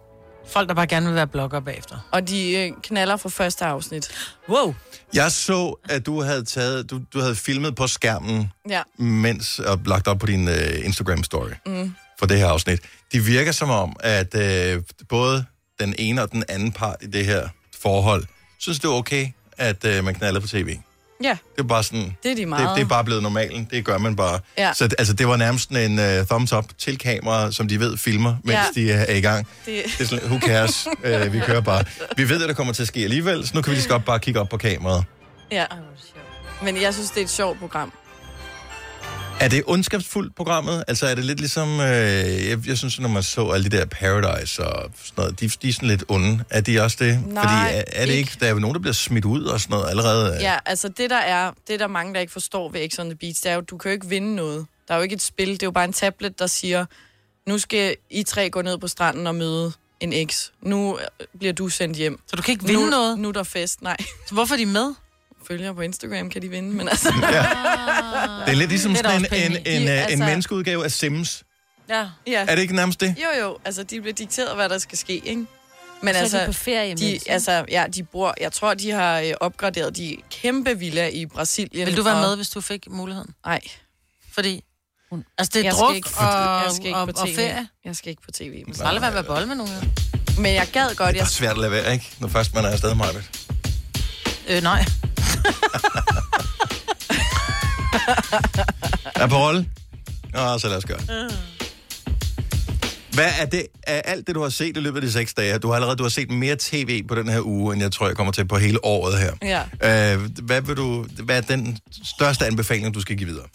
C: Folk, der bare gerne vil være blogger bagefter.
D: Og de øh, knaller fra første afsnit.
C: Wow!
A: Jeg så, at du havde, taget, du, du havde filmet på skærmen,
D: Ja.
A: mens og lagt op på din øh, Instagram-story
D: Mm.
A: for det her afsnit. Det virker som om, at øh, både den ene og den anden part i det her forhold, synes det er okay, at øh, man knaller på tv. Det
D: Ja,
A: er bare sådan...
D: det er de meget.
A: Det, det er bare blevet normalen. Det gør man bare.
D: Ja.
A: Så altså, det var nærmest sådan en uh, thumbs up til kameraet, som de ved filmer, mens
D: Ja.
A: de er, er i gang.
D: Det-
A: Det er sådan, who cares? uh, vi kører bare. Vi ved, at det kommer til at ske alligevel, så nu kan vi lige så godt bare kigge op på kameraet.
D: Ja. Men jeg synes, det er et sjovt program.
A: Er det ondskabsfuldt, programmet? Altså er det lidt ligesom... Øh, jeg, jeg synes, når man så alle de der Paradise og sådan noget, de, de er sådan lidt onde. Er de også det?
D: Nej,
A: Fordi er, er det ikke... Der er jo nogen, der bliver smidt ud og sådan noget allerede.
D: Ja, altså det der er, det der mange, der ikke forstår ved X on the Beach, det er jo, du kan jo ikke vinde noget. Der er jo ikke et spil, det er jo bare en tablet, der siger, nu skal I tre gå ned på stranden og møde en X. Nu øh, bliver du sendt hjem.
C: Så du kan ikke vinde
D: nu,
C: noget?
D: Nu er der fest, nej.
C: Så hvorfor er de med?
D: Følger på Instagram kan de vinde, men altså...
A: Ja. Det er lidt ligesom
D: Det er der
A: sådan
D: også
A: en, en,
D: penge i.
A: en,
D: De-
A: øh, en
D: altså-
A: menneskeudgave af Sims.
D: Ja. ja.
A: Er det ikke nærmest det?
D: Jo, jo. Altså, de bliver dikteret, hvad der skal ske, ikke? altså,
E: Så er de på ferie
D: de,
E: imens, ikke?
D: altså, ja, de bor, jeg tror, de har øh, opgraderet de kæmpe villa i Brasilien.
C: Vil du være med, hvis du fik muligheden?
D: Nej.
C: Fordi... Altså, det er
D: Jeg skal
C: druk
D: ikke-
C: og,
D: jeg skal ikke
C: og,
D: på
C: og
D: TV.
C: ferie.
D: Jeg skal ikke på tv.
C: Du skal aldrig være med bold med nogen.
D: Men jeg gad godt,
A: Det er svært at lade være, ikke? Når først man er afsted, Marvitt.
C: Øh, nej.
A: Er på rolle? Nå, så lad os gøre det.
D: Ah.
A: Hvad er det af alt det, du har set i løbet af de seks dage? Du har allerede du har set mere tv på den her uge, end jeg tror, jeg kommer til på hele året her.
D: Ja.
A: Øh, hvad, vil du, hvad er den største anbefaling, du skal give videre?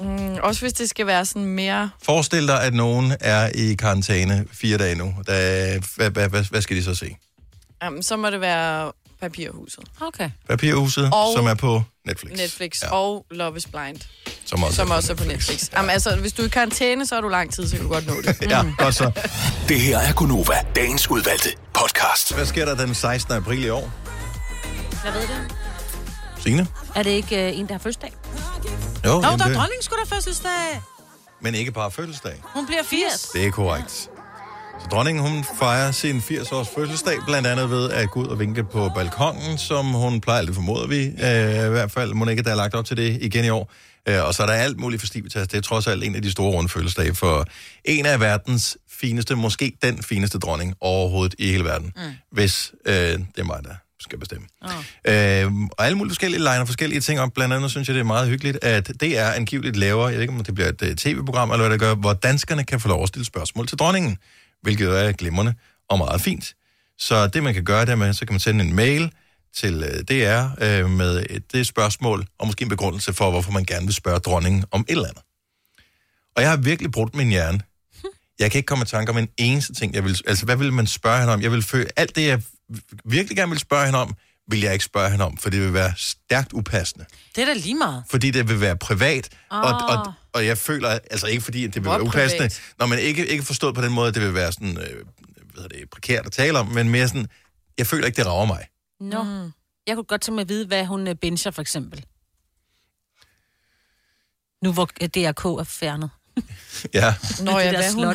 D: Mm, også hvis det skal være sådan mere...
A: Forestil dig, at nogen er i karantæne fire dage nu. Da, hvad, hvad, hvad, hvad skal de så se?
D: Jamen, så må det være Papirhuset.
E: Okay.
A: Papirhuset,
D: Og-
A: som er på Netflix.
D: Netflix ja. og Love is Blind,
A: Som også,
D: som også er på Netflix. Ja. Jamen, altså, hvis du er i karantæne, så er du lang tid, så kan du godt nå det.
A: Ja, godt så.
V: Det her er Gunova, dagens udvalgte podcast.
A: Hvad sker der den 16. april i år?
E: Jeg ved det.
A: Signe?
E: Er det ikke øh, en, der har fødselsdag?
C: Nå,
A: Jo, jamen
C: der er
A: det-
C: dronningen skulle da fødselsdag.
A: Men ikke bare fødselsdag.
C: Hun bliver 80.
A: Det er korrekt. Så dronningen, hun fejrer sin 80-års fødselsdag, blandt andet ved at gå ud og vinke på balkongen, som hun plejer, det formoder vi. Øh, I hvert fald Monika, der er lagt op til det igen i år. Øh, og så er der alt muligt for Stivitas. Det er trods alt en af de store runde fødselsdage for en af verdens fineste, måske den fineste dronning overhovedet i hele verden. Mm. Hvis øh, det er mig, der skal bestemme. Øhm, og alle mulige forskellige liner forskellige ting op. Blandt andet synes jeg, det er meget hyggeligt, at det er angiveligt laver, jeg ved ikke, om det bliver et øh, tv-program eller hvad det gør, hvor danskerne kan få lov at stille spørgsmål til dronningen, hvilket jo er glimrende og meget fint. Så det, man kan gøre, det er, at man- så kan man sende en mail til øh, DR øh, med et, det spørgsmål, og måske en begrundelse for, hvorfor man gerne vil spørge dronningen om et eller andet. Og jeg har virkelig brugt min hjerne. Jeg kan ikke komme i tanke om en eneste ting, jeg vil, altså hvad vil man spørge hende om? Jeg vil føle, alt det, jeg virkelig gerne vil spørge hende om, vil jeg ikke spørge hende om, for det vil være stærkt upassende.
C: Det er da lige meget.
A: Fordi det vil være privat, oh. og,
C: Åh.
A: og, og jeg føler, altså ikke fordi, at det vil
C: Hvor
A: være upassende,
C: privat?
A: når man ikke, ikke forstået på den måde, at det vil være sådan, øh, hvad hedder det, prekært at tale om, men mere sådan, jeg føler ikke, det rager mig.
E: Nå. Mm. Jeg kunne godt tænke mig at vide, hvad hun øh, binger, for eksempel. Nu hvor øh, DRK er fjernet.
A: Ja.
D: Nå ja, hvad hun har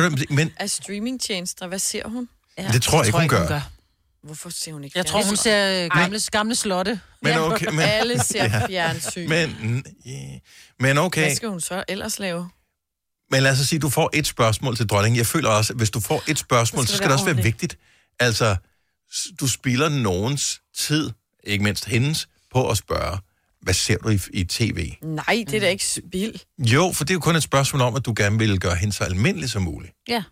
A: Ved du, men-
D: af streamingtjenester. Hvad ser hun?
A: Ja. Det tror jeg Det ikke, tror hun jeg ikke, hun gør.
D: Hvorfor ser hun ikke
C: Jeg tror, hun ser øh, gamle, gamle slotte.
A: Men okay, men,
D: Alle ser fjernsyn.
A: Men, yeah. men okay,
D: Hvad skal hun så ellers lave?
A: men lad os så sige, du får et spørgsmål til dronningen. Jeg føler også, at hvis du får et spørgsmål,
D: Så skal
A: så
D: det
A: skal det
D: være
A: også være
D: ordentligt.
A: vigtigt. Altså, s- du spilder nogens tid, ikke mindst hendes, på at spørge, hvad ser du i, i tv?
D: Nej, det er da ikke spild.
A: Jo, for det er jo kun et spørgsmål om, at du gerne vil gøre hende så almindelig som muligt.
E: Ja.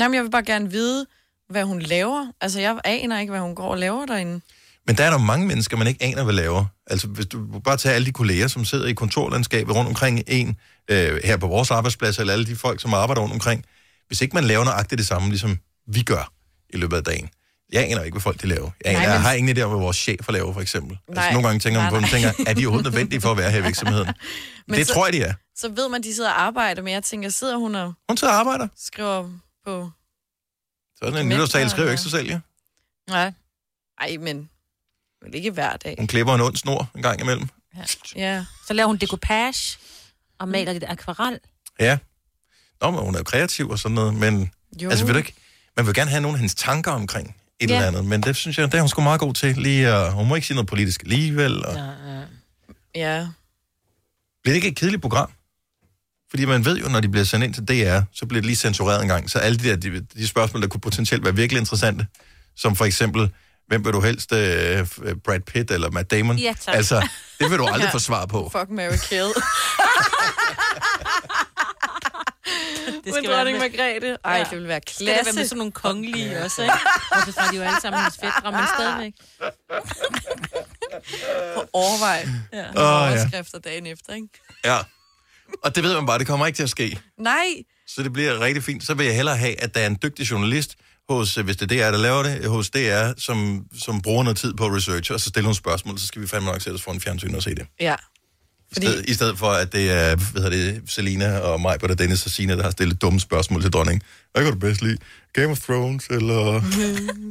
D: Jamen, jeg vil bare gerne vide, hvad hun laver. Altså, jeg aner ikke, hvad hun går og laver derinde.
A: Men der er der mange mennesker, man ikke aner, hvad laver. Altså, hvis du bare tager alle de kolleger, som sidder i kontorlandskabet rundt omkring en, øh, her på vores arbejdsplads, eller alle de folk, som arbejder rundt omkring. Hvis ikke man laver nøjagtigt det samme, ligesom vi gør i løbet af dagen. Jeg aner ikke, hvad folk de laver. Jeg, aner,
H: Nej,
A: nej,
H: men-
A: men... jeg har ingen idé om, hvad vores chefer laver, for eksempel. Nej, altså,
D: Nej.
A: nogle gange tænker man
D: Nej,
A: på, man
D: nej.
A: tænker, er de overhovedet nødvendige for at være her i virksomheden?
D: Men
A: det
D: så-
A: tror jeg, de er.
D: Så ved man, at de sidder og arbejder, men jeg tænker, sidder hun og...
A: Hun sidder og arbejder.
D: Skriver på...
A: Sådan en
D: Mænd,
A: nytårstale
D: der-
A: skriver ikke sig selv, ja.
D: Nej. Ej, men... Men ikke hver dag.
A: Hun klipper en ond snor en gang imellem.
D: Ja.
E: Så laver hun dekopage og maler lidt akvarel.
A: Ja. Nå, men hun er jo kreativ og sådan noget, men
E: Jo.
A: jo. altså, ved du ikke, man vil gerne have nogle af hendes tanker omkring et
E: Ja.
A: ja. eller andet, men det synes jeg, det er hun sgu meget god til. Lige, uh, hun må ikke sige noget politisk alligevel. Og...
D: Ja.
A: Bliver det ikke et kedeligt program? Fordi man ved jo, når de bliver sendt ind til DR, så bliver det lige censureret en gang. Så alle de, der, de, de spørgsmål, der kunne potentielt være virkelig interessante, som for eksempel, hvem vil du helst, øh, f- øh, Brad Pitt eller Matt Damon?
D: Ja, tak.
A: Altså, det vil du aldrig ja. få svar på.
D: Fuck, Mary Kill. det skal
E: skal
D: Med dronning
E: være med-
D: Margrethe. Ej,
E: Ja.
D: det ville være
E: Skal der være
D: klasse.
E: med sådan nogle kongelige også, ikke? Altså, så er de jo alle sammen hendes fædre, men stadigvæk.
D: På overvej. Ja.
A: Åh, ja.
D: overskrifter dagen efter, ikke?
A: Ja. Og det ved man bare, det kommer ikke til at ske.
D: Nej,
A: Så det bliver rigtig fint. Så vil jeg hellere have, at der er en dygtig journalist hos, øh, hvis det er DR, der laver det, hos DR, som, som bruger noget tid på research, og så stiller nogle spørgsmål, så skal vi fandme nok sætte os foran fjernsynet og se det.
D: Ja.
A: Fordi... Sted, I stedet for, at det er, hvad hedder det, Selina og mig, og Dennis og Sina, der har stillet dumme spørgsmål til dronningen. Hvad kan du bedst lide? Game of Thrones, eller...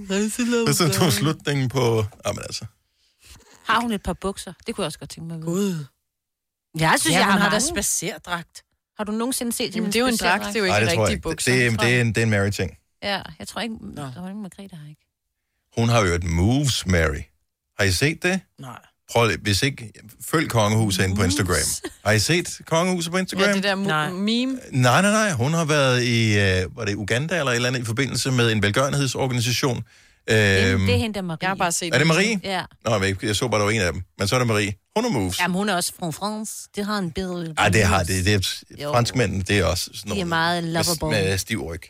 A: Hvad synes du om slutningen på... Jamen altså.
E: Har hun et par bukser? Det kunne jeg også godt tænke mig at vide. Gud. Jeg synes,
C: Ja,
E: jeg
C: hun
E: har,
C: har da
E: mange. spacerdragt. Har du nogensinde set
D: Jamen,
E: hendes
D: det er jo en
E: spacerdragt?
D: dragt, det er jo ikke
A: Ej, det
D: en
A: tror jeg
D: rigtig
A: ikke. Det,
D: bukser.
A: det, det, er en, det er en Mary-ting.
E: Ja, jeg tror ikke, dronning Margrethe har ikke.
A: Hun har jo et Moves Mary. Har I set det?
C: Nej.
A: Prøv lige, hvis ikke, følg kongehuset ind på Instagram. Har I set kongehuset på Instagram?
D: Ja, det der mu- meme.
A: Nej, nej, nej. Hun har været i, øh, var det Uganda eller et eller andet, i forbindelse med en velgørenhedsorganisation. Øhm,
E: Øhm, det er hende, der er Marie. Jeg har bare set
A: Er det Marie?
E: Ja.
A: Nå, jeg, ved ikke, jeg så bare, der var en af dem. Men så er der Marie. Hun er moves.
E: Jamen, hun er også fra France. Det har en bedre...
A: Ej, det har det. det er,
E: Jo.
A: franskmændene, det er også sådan
E: De er
A: noget.
E: meget lovable.
A: Med, med stiv ryg.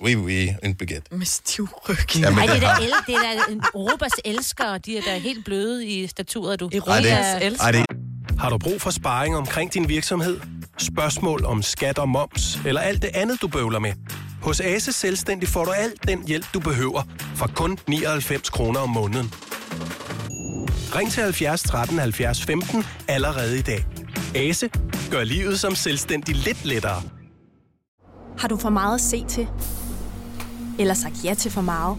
A: Oui, oui, en baguette.
D: Med stiv ryg.
A: Ja, men
E: Ej, det
A: det
E: er
A: har...
E: da, el- det er da en- Europas elskere. De er da helt bløde i staturet, du.
P: Ej, det- ej, det- Har
E: Har
P: du brug for sparring omkring din virksomhed? Spørgsmål om skat og moms, eller alt det andet, du bøvler med? Hos Ase Selvstændig får du alt den hjælp, du behøver, for kun 99 kroner om måneden. Ring til 70 13 70 15 allerede i dag. Ase gør livet som selvstændig lidt lettere.
Q: Har du for meget at se til? Eller sagt ja til for meget?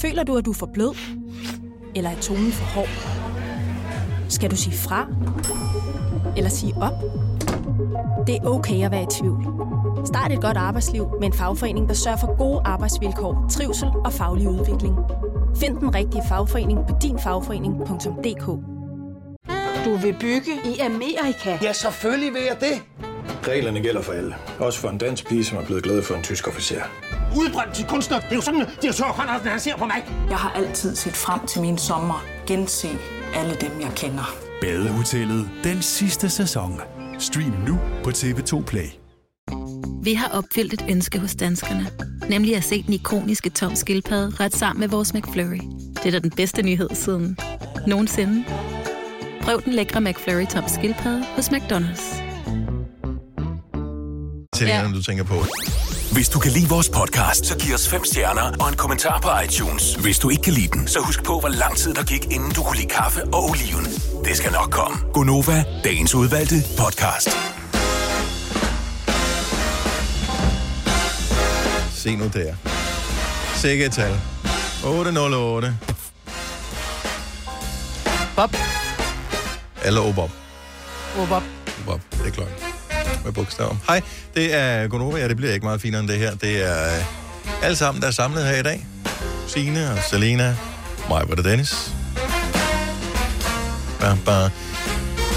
Q: Føler du, at du er for blød? Eller er tonen for hård? Skal du sige fra? Eller sige op? Det er okay at være i tvivl. Start et godt arbejdsliv med en fagforening, der sørger for gode arbejdsvilkår, trivsel og faglig udvikling. Find den rigtige fagforening på dinfagforening.dk
H: Du vil bygge i Amerika?
R: Ja, selvfølgelig vil jeg det. Reglerne gælder for alle. Også for en dansk pige, som er blevet glad for en tysk officer.
O: Udbrøndt til kunstner. Det er jo sådan, at de har tørt, Conradsen, han ser på mig.
S: Jeg har altid set frem til min sommer, gense alle dem, jeg kender.
T: Badehotellet den sidste sæson. Stream nu på TV2 Play.
U: Vi har opfyldt et ønske hos danskerne. Nemlig at se den ikoniske tom skildpadde ret sammen med vores McFlurry. Det er da den bedste nyhed siden nogensinde. Prøv den lækre McFlurry tom skildpadde hos McDonald's.
A: Til ja. du tænker på.
V: Hvis du kan lide vores podcast, så giv os fem stjerner og en kommentar på iTunes. Hvis du ikke kan lide den, så husk på, hvor lang tid der gik, inden du kunne lide kaffe og oliven. Det skal nok komme. Gonova, dagens udvalgte podcast.
A: Se nu der. Sikke et tal. 808.
C: Bob.
A: Eller Obob.
C: Råb op.
A: Bob, det er klokken. Med bogstaver. Hej, det er Gunova. Ja, det bliver ikke meget finere end det her. Det er øh, alle sammen, der er samlet her i dag. Signe og Selena, mig og Dennis. Bam, bam.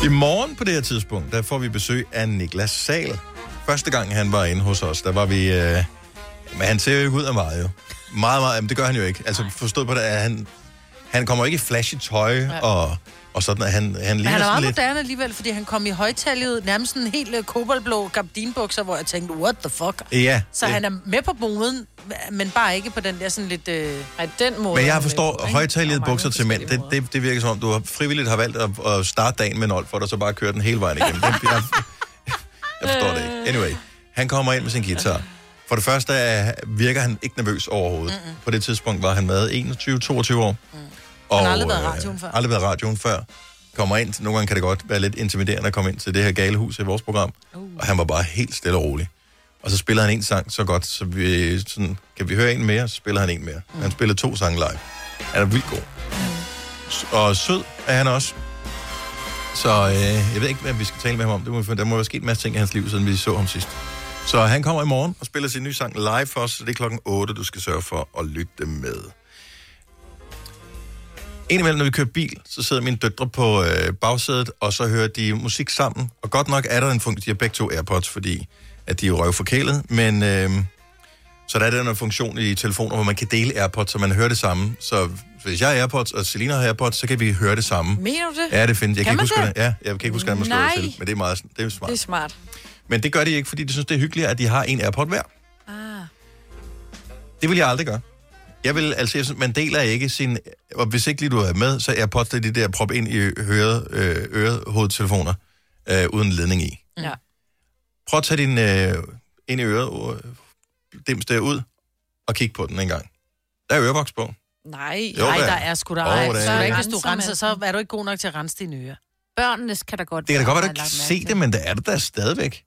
A: I morgen på det her tidspunkt, der får vi besøg af Niklas Sal. Første gang han var inde hos os, der var vi... Øh, men han ser jo ikke ud af meget, jo. Meget, meget... Jamen, det gør han jo ikke. Altså, forstået på det, at han, han kommer ikke i flashy tøj ja. og, og sådan, at han, han ligner
C: Men han er
A: sådan
C: meget
A: lidt...
C: moderne alligevel, fordi han kom i højtalget, nærmest sådan en helt øh, koboldblå gabardinbukser, hvor jeg tænkte, what the fuck?
A: Ja,
C: Så
A: det-
C: han er med på moden, men bare ikke på den der sådan lidt... Øh, ej, den måde.
A: Men
C: han
A: jeg
C: er med på,
A: forstår,
C: ikke?
A: højtalede bukser til mænd, det, det, det virker som om, du har frivilligt har valgt at, at starte dagen med en for og så bare køre den hele vejen igennem. Det, jeg, jeg forstår det ikke. Anyway, han kommer ind med sin guitar. For det første er, virker han ikke nervøs overhovedet. Mm-mm. På det tidspunkt var han med 21-22 år. Mm.
C: Han har aldrig været i radioen før.
A: øh, aldrig været i radioen før. Kommer ind, nogle gange kan det godt være lidt intimiderende at komme ind til det her gale hus i vores program. Uh. Og han var bare helt stille og rolig. Og så spiller han en sang så godt, så vi, sådan, kan vi høre en mere, så spiller han en mere. Mm. Han spillede to sange live. Han er vildt god. S-
C: Mm.
A: Og sød er han også. Så øh, jeg ved ikke, hvad vi skal tale med ham om. Det må, vi finde- der må være sket en masse ting i hans liv, siden vi så ham sidst. Så han kommer i morgen og spiller sin nye sang live for os. Så det er klokken 8, du skal sørge for at lytte med. Indimellem, når vi kører bil, så sidder mine døtre på øh, bagsædet, og så hører de musik sammen. Og godt nok er der en funktion, de har begge to AirPods, fordi at de er jo røvforkælet, men øh, så der er den her funktion i telefoner, hvor man kan dele AirPods, så man hører det samme. Så hvis jeg har AirPods, og Selina har AirPods, så kan vi høre det samme.
C: Mener du det?
A: Ja, det findes. Jeg kan,
C: man
A: ikke huske,
C: det?
A: det? Ja, jeg kan ikke huske, hvordan man slår det
C: Nej.
A: til, men det er, meget, sådan- det er jo smart.
D: Det er smart.
A: Men det gør de ikke, fordi de synes, det er hyggeligt, at de har en AirPod hver.
D: Ah.
A: Det vil jeg aldrig gøre. Jeg vil, altså, jeg synes, man deler ikke sin... Og hvis ikke lige du er med, så er AirPods det er de der prop ind i høret, øh, øret, hovedtelefoner øh, uden ledning i.
D: Mm.
C: Ja.
A: Prøv at tage din øh, ind i øret, øh, dims der ud, og kig på den en gang. Der er ørevoks på.
C: Nej,
A: Jo,
C: nej,
A: da.
C: der er sgu da
A: Jo,
C: ej.
A: da.
C: Så er det ikke, hvis du
E: Renser,
C: renser, så er du ikke god nok til at rense dine ører.
E: Børnenes kan da godt
A: Det kan da godt være, du
E: har
A: ikke
E: lagt
A: kan
E: mærke
A: se det, men der er det der stadigvæk.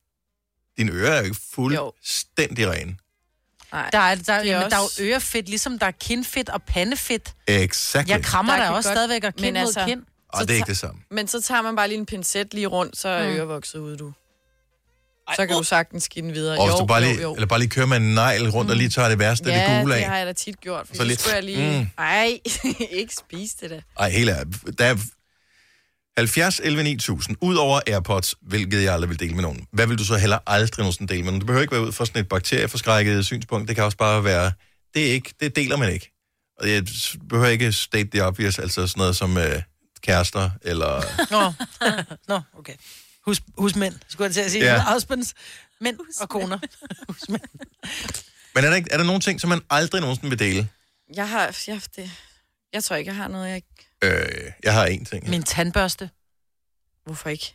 A: Dine ører er jo ikke fuldstændig rene.
C: Der er, der,
D: Det er
C: er men der er
D: også-
C: jo ørefedt, ligesom der er kindfedt og pandefedt.
A: Exakt.
C: Jeg krammer
D: Der
C: da
D: kan
C: også
D: godt-
C: stadigvæk og
D: men
C: kind mod
D: altså-
C: kind.
A: Og det er ikke det samme.
D: Men så tager man bare lige en pincet lige rundt, så er
C: Mm.
D: mm. ørevokset ude, du. Så kan du sagtens give den videre.
A: Og hvis du bare lige, eller bare lige kører med en negl rundt og lige tager det værste, ja, det
D: ja,
A: gule
D: det har
A: af.
D: jeg da tit gjort. For
A: Så
D: så
A: lidt-
D: lidt. Skulle jeg lige...
A: Mm.
D: Mm. Ej, ikke spise det da.
A: Ej, helt ærligt. Der er 70, 11, 9000. Udover AirPods, hvilket jeg aldrig vil dele med nogen. Hvad vil du så heller aldrig nogensinde dele med nogen? Du behøver ikke være ud fra sådan et bakterieforskrækket synspunkt. Det kan også bare være, det, er ikke, det deler man ikke. Og jeg s- behøver ikke state the obvious, altså sådan noget som øh, kærester, eller...
C: Nå, Nå okay. Hus, husmænd, skulle jeg til at sige.
A: Ja.
C: Ja. Afspændes. Mænd og koner.
A: Men er der, ikke, er der nogle ting, som man aldrig nogensinde vil dele?
D: Jeg har... Jeg, det, jeg tror ikke, jeg har noget, jeg ikke...
A: Øh, jeg har én ting.
C: Min tandbørste.
D: Hvorfor ikke?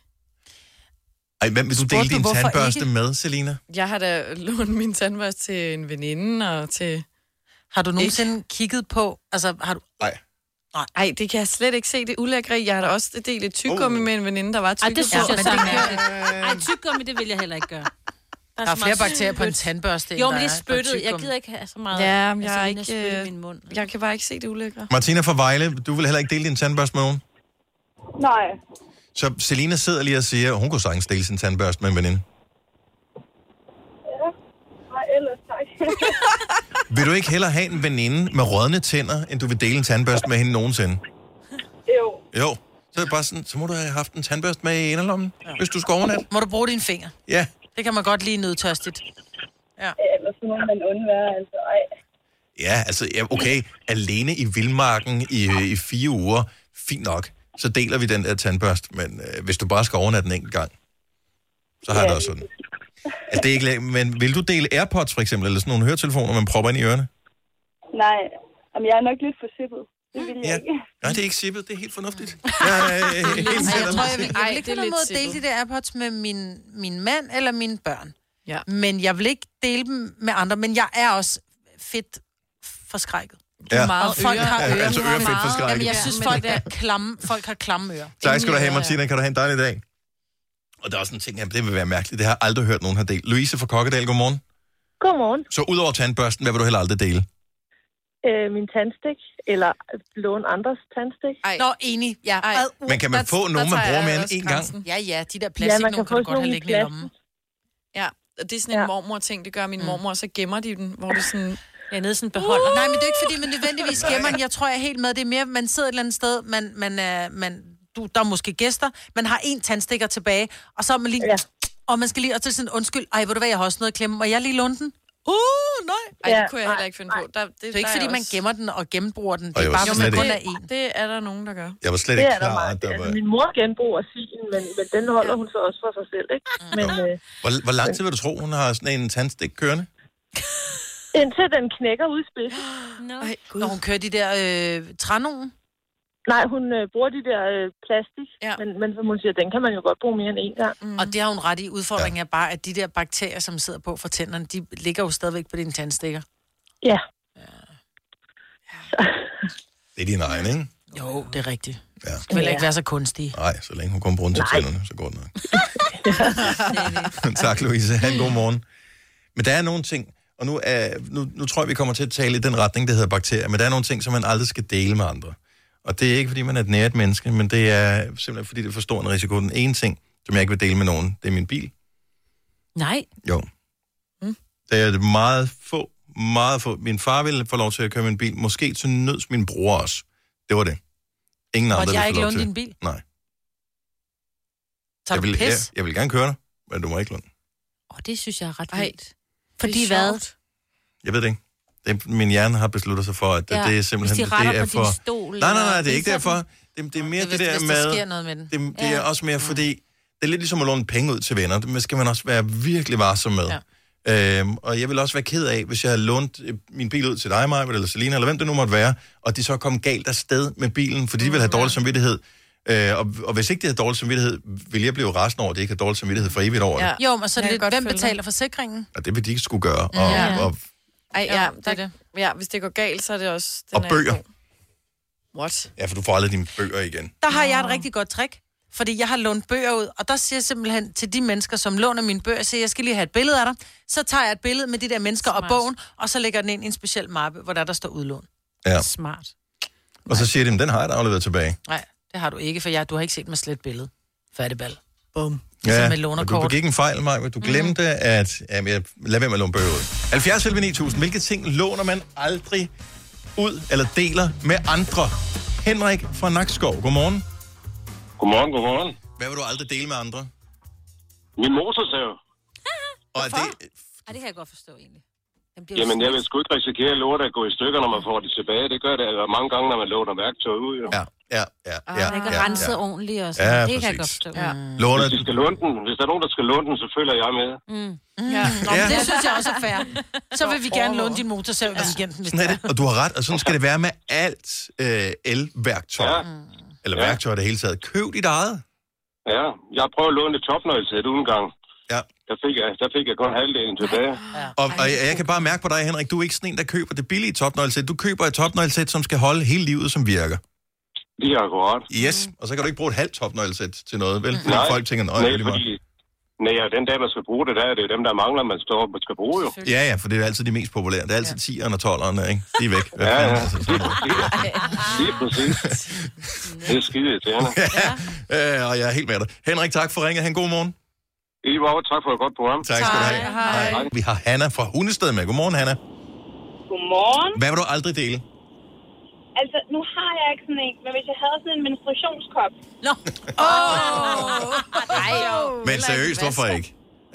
A: Ej, hvem vil du
D: Spurgte
A: dele
D: du,
A: din
D: hvorfor
A: tandbørste
D: ikke?
A: med, Selina?
D: Jeg har da lånt min tandbørste til en veninde og til...
C: Har du nogensinde ikke. kigget på... Altså, har du...
A: Nej.
C: Nej.
D: Ej, det kan jeg slet ikke se. Det er ulækre. i. Jeg har da også delt et tyggegummi
C: Oh.
D: oh. med en veninde, der var
E: Ej,
D: tyggegummi.
E: det synes jeg så er mærkeligt. Ej,
D: Ej,
E: tyggegummi, det vil jeg heller ikke gøre.
C: Der er,
E: så
C: flere
E: meget
C: bakterier på en
E: spyt.
C: tandbørste, end
E: Jo,
C: der
E: men det
C: er
E: er
C: på
E: spyttet. Jeg
C: tyggegummi.
E: gider ikke have så meget.
C: Altså,
D: Ja, men jeg, er
E: inden spyt
D: ikke, øh,
E: i min mund.
D: jeg kan bare ikke se det ulækre.
A: Martina fra Vejle, du vil heller ikke dele din tandbørste med nogen?
I: Nej.
A: Så Selina sidder lige og siger, at hun kunne sagtens dele sin tandbørste med en veninde.
I: ellers, tak.
A: Vil du ikke hellere have en veninde med rådne tænder, end du vil dele en tandbørste med hende nogensinde?
I: jo,
A: Jo. Så er det bare sådan, så må du have haft en tandbørste med i inderlommen, ja. hvis du skal overnatte.
C: Må du bruge dine fingre?
A: Ja.
C: Det kan man godt lige nødtørstigt. Ja.
I: ellers så må man undvære, altså, ej.
A: Ja, altså, ja, okay, alene i vildmarken i, øh, i fire uger, fint nok, så deler vi den der tandbørst, men øh, hvis du bare skal overnatte den enkelt gang, så har jeg det også sådan. Altså, det er ikke, la- men vil du dele AirPods for eksempel, eller sådan nogle høretelefoner, man propper ind i ørerne?
I: Nej, Jamen, jeg er nok lidt forsippet. Det vil jeg
A: Ja.
I: ikke.
A: Nej, det er ikke sippet, det er helt fornuftigt. Jeg, øh, helt
C: Ej, jeg tror, jeg vil, jeg
D: Ej,
C: vil ikke
D: det er
C: på nogen
D: lidt
C: måde dele de
D: sippet.
C: der AirPods med min, min mand eller mine børn.
D: Ja.
C: Men jeg vil ikke dele dem med andre, men jeg er også fedt forskrækket.
A: Du har Ja. meget
C: Og folk
A: øre.
C: har
A: Ja,
C: ører.
A: altså
C: Du har
A: ørefedt
C: meget-
A: forskrækket.
C: Jamen, jeg
A: Ja,
C: synes,
A: men-
C: folk, er klamme, folk har klamme ører.
A: Tak skal du have, Martina. Kan du have en dejlig dag? Og der er også en ting, jamen, det vil være mærkeligt. Det har jeg aldrig hørt nogen har delt. Louise fra Kokkedal, godmorgen.
I: Godmorgen.
A: Så udover tandbørsten, hvad vil du heller aldrig dele?
I: Øh, min tandstik, eller låne andres tandstik.
C: Ej. Nå, enig. Ja. Ej.
A: Men kan man få nogen, man bruger mere end én gang?
C: Ja, ja, de der plastik, ja, kan, kan du godt have liggende i lommen.
D: Ja, og det er sådan en mormor-ting, det gør
C: Mm.
D: min mormor, og så gemmer de den, hvor det sådan...
C: Ja, nede i sådan en beholder. Nej, men det er ikke, fordi man nødvendigvis gemmer den. Jeg tror, jeg er helt med. Det er mere, man sidder et eller andet sted, man, man, er, man, du, der er måske gæster, man har en tandstikker tilbage, og så er man lige... Ja. Og man skal lige... Og til sådan, undskyld, ej, hvor du hvad, jeg har også noget at klemme. Og jeg lige låne den. Uh, nej.
D: Ej, det kunne jeg heller ikke finde på. Der, det,
C: Det er ikke, fordi man gemmer den og gennembruger den.
A: Og
C: Det er
A: jeg
C: bare,
A: var
C: hvis man
A: slet
C: kun er
A: ikke-
C: en.
D: Det er der nogen, der gør.
A: Jeg var slet
I: Det
A: ikke
I: er der
A: klar, at
I: meget.
A: der
I: Altså,
A: var...
I: min mor genbruger sin, men, men den holder hun så også for sig selv, ikke? Men øh,
A: Hvor, hvor lang tid vil du tro, hun har sådan en tandstik kørende?
I: indtil den knækker ud i spidsen.
E: No.
C: Ej, Når hun kører de der øh, trænogen.
I: Nej, hun øh, bruger de der øh, plastik, ja. men, men som hun siger, den kan man jo godt bruge mere end én gang.
C: Mm. Og det har hun ret i. Udfordringen ja. er bare, at de der bakterier, som sidder på for tænderne, de ligger jo stadigvæk på dine tandstikker.
I: Ja.
A: Det er din egen, ikke?
C: Jo, det er rigtigt.
A: Ja.
C: Det vil ikke være så kunstige.
A: Nej, så længe hun kommer rundt til tænderne, så går det nok. tak, Louise. Ha' en god morgen. Men der er nogle ting, og nu, er, nu, nu tror jeg, vi kommer til at tale i den retning, det hedder bakterier, men der er nogle ting, som man aldrig skal dele med andre. Og det er ikke, fordi man er et nært menneske, men det er simpelthen, fordi det er for stor en risiko. Den ene ting, som jeg ikke vil dele med nogen, det er min bil.
E: Nej.
A: Jo.
E: Mm.
A: Det er meget få, meget få. Min far ville få lov til at køre min bil. Måske til nøds min bror også. Det var det. Ingen
C: Måtte
A: andre
C: jeg
A: ville få
C: ikke
A: lov
C: låne
A: til.
C: din bil?
A: Nej.
C: Tager
A: jeg
C: du
A: vil, jeg,
C: pis?
A: jeg vil gerne køre dig, men du må ikke låne.
E: Og det synes jeg er ret
D: Ej,
E: vildt. Fordi hvad?
A: Jeg ved det ikke. Det, er- min hjerne har besluttet sig for, at det,
E: Ja,
A: det er simpelthen...
E: hvis de retter
A: det er
E: på din
A: for...
E: stol,
A: Nej, nej, nej,
E: eller-
A: det er ikke
E: Det er
A: derfor.
E: sådan-
A: Det, det er mere det,
C: Hvis,
A: det der
C: hvis
A: med...
C: der sker noget med den.
A: Det, det ja. er også mere fordi, det er lidt ligesom at låne penge ud til venner. Det skal man også være virkelig varsom med. Ja. Øhm, og jeg vil også være ked af, hvis jeg havde lånt øh, min bil ud til dig, Maja, eller Selina, eller hvem det nu måtte være, og de så kom galt afsted med bilen, fordi de ville have dårlig samvittighed. Øh, og, og hvis ikke de havde dårlig samvittighed, ville jeg blive resten over, at de ikke har dårlig samvittighed for evigt over det.
C: Ja.
A: Ja.
C: Jo, men så er det
D: Jeg
C: lidt,
D: kan godt
C: hvem
D: følge dig.
C: betaler forsikringen?
A: Og det vil de ikke skulle gøre.
D: Mm.
A: Og,
D: Ja.
A: ja. og,
D: Ej, ja,
C: Jo, det er
D: der, det. ja, hvis det går galt, så er det også... Den
A: og
D: er
A: bøger.
D: What?
A: Ja, for du får aldrig dine bøger igen.
C: Der har jeg et rigtig godt trick. Fordi jeg har lånt bøger ud, og der siger jeg simpelthen til de mennesker, som låner mine bøger, så jeg skal lige have et billede af dig. Så tager jeg et billede med de der mennesker Smart. og bogen, og så lægger den ind i en speciel mappe, hvor der, der står udlån.
A: Ja.
C: Smart.
A: Og så siger de, "Men den har jeg da afleveret tilbage.
C: Nej, det har du ikke, for jeg, du har ikke set mig slet billede. Fattebal.
D: Bum.
C: Ligesom med
A: og du
C: lånerkort.
A: begik en fejl, Maja. Du glemte, mm. at... Jamen, jeg, lad være med at låne bøger ud. 70 11 9000. Hvilke ting låner man aldrig ud eller deler med andre? Henrik fra Nakskov, godmorgen.
K: Godmorgen, godmorgen.
A: Hvad vil du aldrig dele med andre?
K: Min motorsav.
A: Og er det,
E: Ej, det kan jeg godt forstå egentlig. Den bliver jo
K: Jamen, jeg
E: smidt.
K: vil sgu ikke risikere at låne at gå i stykker, når man får det tilbage. Det gør det altså mange gange, når man låner værktøj ud. Jo.
A: Ja, ja, ja.
E: Og man ikke renset ordentligt og sådan.
K: Ja,
E: Ja, det kan jeg godt
K: præcis.
E: forstå. Ja.
A: Låner...
K: Hvis, de skal låne den, hvis der er nogen, der skal låne den, så følger jeg med.
E: Mm.
C: Ja. Nå, men det synes jeg også er fair. Så vil vi gerne låne din motorsav i weekenden. hvis
A: Sådan er det, og du har ret, og sådan skal det være med alt øh, elværktøj. Ja. Eller værktøj i det hele taget. Køb dit eget.
K: Ja, jeg prøvede at låne et topnøglesæt uden gang.
A: Ja.
K: Der fik, jeg, der fik jeg kun halvdelen tilbage.
A: Og, og jeg, jeg kan bare mærke på dig, Henrik, du er ikke sådan en, der køber det billige topnøglesæt. Du køber et topnøglesæt, som skal holde hele livet, som virker.
K: Lige akkurat.
A: Yes, og så kan du ikke bruge et halvt topnøglesæt til noget, vel? Fordi
K: Nej.
A: folk tænker, nej,
K: Nej,
A: det er lige
K: fordi... Nej, ja, den dag, man skal bruge det, der er det jo dem, der mangler, man står man skal bruge jo.
A: meget. Ja, ja, for det er altid de mest populære. Det er altid 10'erne og 12'erne, ikke? De er væk. Hvad
K: Ja,
A: fanden Altså,
K: ja.
A: er det så?
K: Lige præcis. Det er skide irriterende.
A: Øh, og jeg er helt med dig. Henrik, tak for ringet. Han god morgen.
K: I I var også. Tak for et godt program.
A: Tak skal du have.
K: Hej. hej.
A: Vi har Hanna fra Hundested med. Godmorgen, Hanna.
J: Godmorgen.
A: Hvad vil du aldrig dele?
J: Altså, nu har jeg ikke sådan en, men hvis jeg havde sådan en menstruationskop...
E: Nå!
J: Åh!
E: Nej,
A: Men seriøst, hvorfor ikke?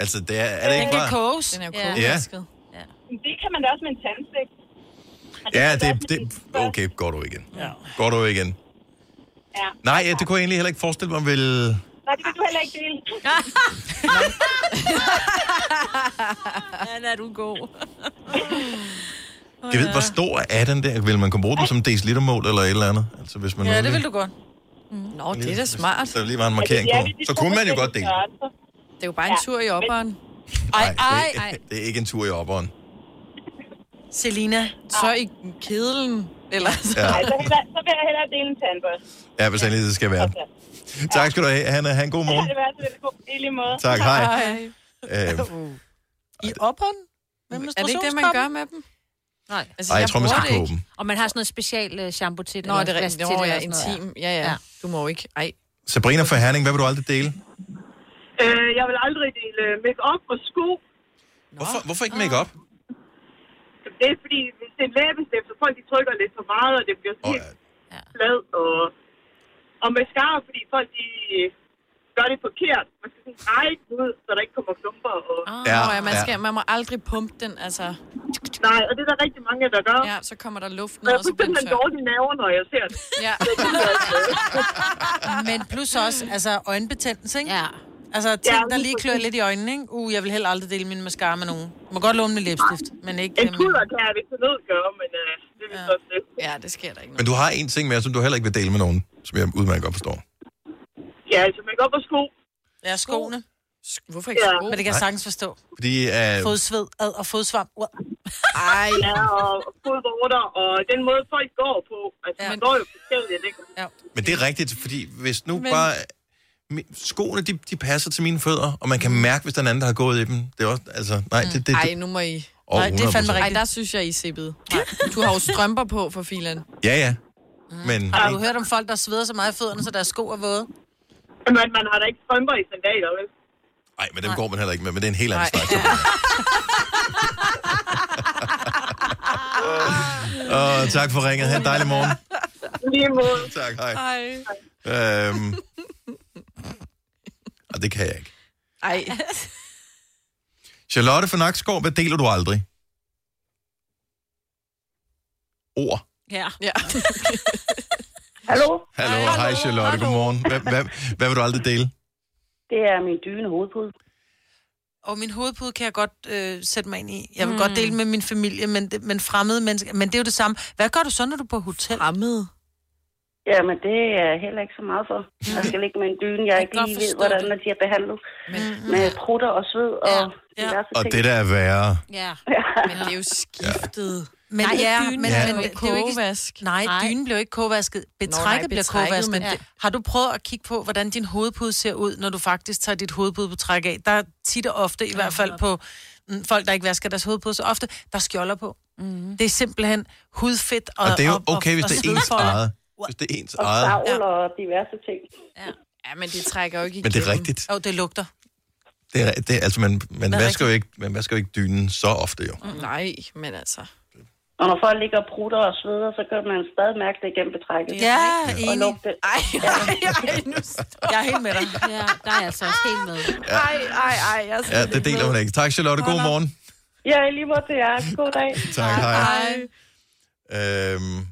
A: Altså, det er, er det ikke bare...
J: koges.
B: Den er jo
A: Ja. kogvasket.
J: Ja. Det kan man da også med en tandstik.
A: Ja, det, det, okay, går du igen.
J: Ja.
A: Går du igen.
J: ja.
A: Nej, ja, det kunne jeg egentlig heller ikke forestille mig, vil...
J: Nej, det vil du heller ikke dele.
E: Anna, er du god.
A: Jeg ved, hvor stor er den der? Vil man kunne bruge den som decilitermål eller et eller andet? Altså, hvis man nu
C: Ja, det
A: lige-
C: vil du godt.
D: Mm. Nå, det er
A: Mm.
D: da smart.
A: Så der lige var en markering på. Så kunne man jo godt dele.
D: Det er jo bare en tur i opperen. Ej,
A: ej, ej. Det er ikke en tur i opperen.
D: Selina, så i kedlen. Eller så.
A: Ja.
J: Nej, så, hellere, Altså, så vil jeg hellere dele en tandbørste.
A: Ja, hvis endelig det skal være. Tak skal du have, Hanna. Ha' en god morgen.
J: Det var det god. I lige måde.
A: Tak, hej.
D: Hej.
A: Øh,
C: I opperen? Med
D: Er det ikke det, man gør med dem? Altså,
E: Nej.
A: Ej, jeg tror, man skal
E: bruger det
A: koge
E: ikke. Og man har sådan noget special øh, shampoo til det.
D: Nå,
E: eller
D: det er
E: vask
D: rigtigt.
E: til
D: Nå, ja,
E: og sådan noget,
D: intim. Ja, ja. Du må jo ikke. Ej.
A: Sabrina fra Herning, hvad vil du aldrig dele?
I: Øh, jeg vil aldrig dele øh, make-up og sko.
A: Hvorfor, hvorfor ikke make-up?
I: Det er fordi, hvis det er en læbestift, så folk de trykker lidt for meget, og det bliver sådan helt flad. Og, og mascara, fordi folk de øh, gør det forkert. Man skal sådan dreje den ud, så der ikke kommer klumper. Og...
D: Oh,
A: Ja,
D: ja, man,
A: ja.
D: skal, man må aldrig pumpe den, altså.
I: Nej, og det er der rigtig mange, der gør.
D: Ja, så kommer der luft
I: Og
D: ned,
I: jeg
D: og
I: får
D: så bliver den
I: simpelthen
D: tør.
I: dårlige naver, når jeg ser det.
D: Ja.
C: Men plus også, altså øjenbetændelse, ikke?
E: Ja.
C: Altså ting,
I: Ja,
C: der
I: lige
C: lige klør
I: præcis.
C: lidt i øjnene, ikke? Uh, jeg vil heller aldrig dele min mascara med nogen. Jeg må godt låne min læbestift, men ikke...
I: En
C: øhm,
I: pudder kan jeg ikke nødt gøre, men øh, det er ja. også det.
D: Ja, det sker der ikke.
A: Men du har en ting mere, som du heller ikke vil dele med nogen, som jeg udmærket godt forstår.
I: Ja, altså man går på sko.
C: Ja, skoene.
D: Hvorfor
I: ikke sko?
C: Men det kan jeg
A: Nej.
C: sagtens forstå.
A: Fordi øh,
C: Fodsved ad og fodsvamp. Wow.
I: Ej. Ja, og fodvorter, og den måde folk går på. Altså, ja. man går jo forskelligt, ikke?
C: Ja.
A: Men det er rigtigt, fordi hvis nu
I: Men-
A: Men... bare... mi- Skoene, de, de passer til mine fødder, og man kan mærke, hvis der er en anden, der har gået i dem. Det er også, altså, nej, det, det, det.
D: Ej, nu må I...
A: Åh, Nej, det er fandme 100%. rigtigt.
D: Ej, der synes jeg, I er sippet. Nej, Du har jo strømper på for filen.
A: Ja, ja. Men
C: Har du hørt om folk, der sveder så meget i fødderne, så deres sko er våde?
I: Men man har da ikke strømper i sandaler, vel?
A: Nej, men dem går man heller ikke med, men det er en helt anden snak. Og tak for ringet. Ha' en dejlig morgen.
I: Lige måde.
A: Tak, hej.
D: Ej.
A: Øhm. Og det kan jeg ikke.
D: Ej.
A: Charlotte fra Nakskov, hvad deler du aldrig? Ord.
E: Ja.
D: ja.
L: Hallo?
A: Hallo, hej, hej Charlotte, hallo. godmorgen. Hvad, hvad, hvad vil du aldrig dele?
L: Det er min dyne hovedpude.
C: Og min hovedpude kan jeg godt øh, sætte mig ind i. Jeg vil
D: Hmm.
C: mm. godt dele med min familie, men, det, men fremmede mennesker. Men det er jo det samme. Hvad gør du så, når du er på hotel?
D: Fremmede?
L: Jamen, det er jeg heller ikke så meget for. Jeg skal ligge med en dyne, jeg ikke godt lige ved, forstå hvordan man bliver behandlet. Med prutter og sved og diverse
A: Og
L: ting.
A: det, der er værre.
E: Ja.
D: Men det er jo skiftet.
C: Men,
E: Nej,
C: ja,
E: dynen
C: men,
A: Ja.
C: men
A: blev
C: det er jo ikke... Nej,
E: Nej.
C: dynen bliver jo ikke kogvasket. Betrækket
D: nej,
C: bliver
D: betrækket,
C: kogvasket.
D: men
C: Men
D: det-
C: Har du prøvet at kigge på, hvordan din hovedpude ser ud, når du faktisk tager dit hovedpude på træk af? Der er tit og ofte, i hvert fald på mm, folk, der ikke vasker deres hovedpude så ofte, der er skjolder på.
D: Mhm.
C: Mm. Det er simpelthen hudfedt og
A: Og det er jo
C: og- og-
A: okay, hvis
C: og
A: det er ens
C: svedfolder.
A: eget. Hvis det er ens
L: Og
A: eget.
L: savl og diverse ting.
D: Ja, men det trækker jo ikke
A: Men det er
D: igennem.
A: rigtigt.
C: Jo, det lugter.
A: Det er, det, er- altså, man, man,
D: Det er Mm.
A: vasker jo ikke, man vasker jo ikke dynen så ofte, jo.
D: Nej, men altså...
L: Og når folk ligger og prutter og sveder, så kan man stadig mærke det igennem betrækket.
C: Ja,
L: og
C: enig.
L: lugte.
D: Ej, ej, nu
C: Jeg er helt med dig.
E: Ja, der er jeg altså også helt med.
L: Ej,
D: ej, ej. Jeg
A: Ja, det deler hun ikke. Tak, Charlotte. God morgen.
L: Ja, i lige måde til jer. God dag.
A: Tak, hej. Øhm,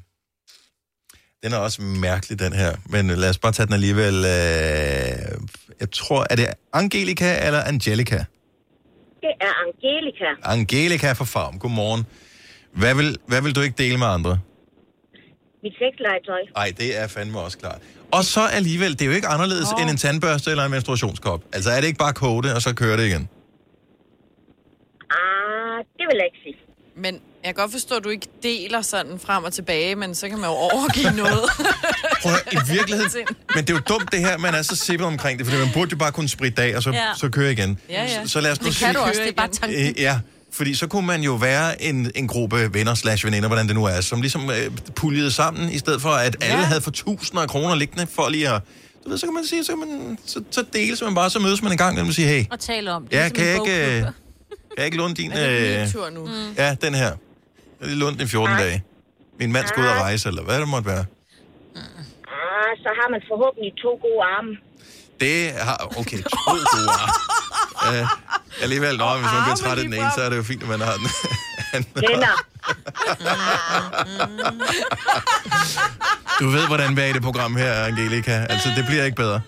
A: den er også mærkelig, den her. Men lad os bare tage den alligevel. Øh, jeg tror, er det Angelica eller Angelica?
W: Det er Angelica.
A: Angelica fra Farm. Godmorgen. Hvad vil, hvad vil du ikke dele med andre?
W: Mit sexlegetøj.
A: Nej, det er fandme også klart. Og så alligevel, det er jo ikke anderledes oh. end en tandbørste eller en menstruationskop. Altså er det ikke bare kode det, og så kører det igen?
D: Ah, det vil jeg ikke sige. Men jeg kan godt forstå, at du ikke deler sådan frem og tilbage, men så kan man jo overgive noget.
A: Prøv at høre, i virkeligheden. Men det er jo dumt det her, man er så sippet omkring det, fordi man burde jo bare kunne spritte af, og så,
C: Ja.
A: ja. så køre igen.
C: Ja, ja.
A: Så, så lad os nu
C: Det kan
A: sige-
C: du også, det er bare tanken.
A: Øh, ja, fordi så kunne man jo være en, en gruppe venner slash veninder, hvordan det nu er, som ligesom øh, puljede sammen, i stedet for at alle havde for tusinder af kroner liggende for lige at Du ved, så kan man sige, så, kan man, så, så deles man bare, så mødes man en gang, og man siger, hey,
E: Og tale om det.
A: jeg
E: Ligesom en
A: kan ikke, øh,
E: bogklub.
A: kan jeg ikke låne din... øh,
E: tur nu. Mm.
A: Ja, den her. Jeg har lånt den i 14 dage. Min mand skulle ud og rejse, eller hvad det måtte være.
W: Ah, så har man forhåbentlig to gode arme.
A: Det har... Okay, to gode arme. Øh, alligevel, nå, hvis man bliver træt af den ene, så er det jo fint, at man har den anden.
W: Venner.
A: Du ved, hvordan vi er i det program her, Angelica. Altså, det bliver ikke bedre.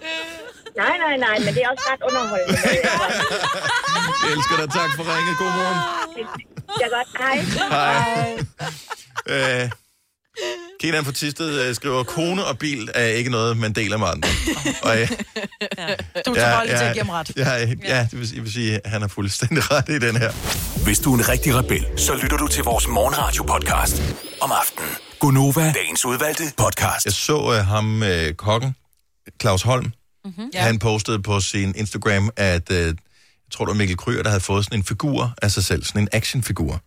W: Nej, nej, nej, men det er også ret underholdende.
A: Jeg elsker dig. Tak for ringet. God morgen.
W: Jeg godt. Hej.
A: Hej. Øh, Kenan fra Tisted øh, skriver, kone og bil er ikke noget, man deler med andre. Og, øh,
C: Du
A: Ja,
C: tager ja, lige til
A: ja,
C: at give ham ret.
A: Ja, ja, ja det vil, sige- jeg vil sige, at han har fuldstændig ret i den her.
V: Hvis du er en rigtig rebel, så lytter du til vores morgenradio-podcast om aftenen.
A: Gunova,
V: Dagens udvalgte
A: podcast. Jeg så uh, ham, uh, kokken, Claus Holm. Mm-hmm. Han postede på sin Instagram, at uh, jeg tror, det var Mikkel Kryger, der havde fået sådan en figur af sig selv, sådan en actionfigur.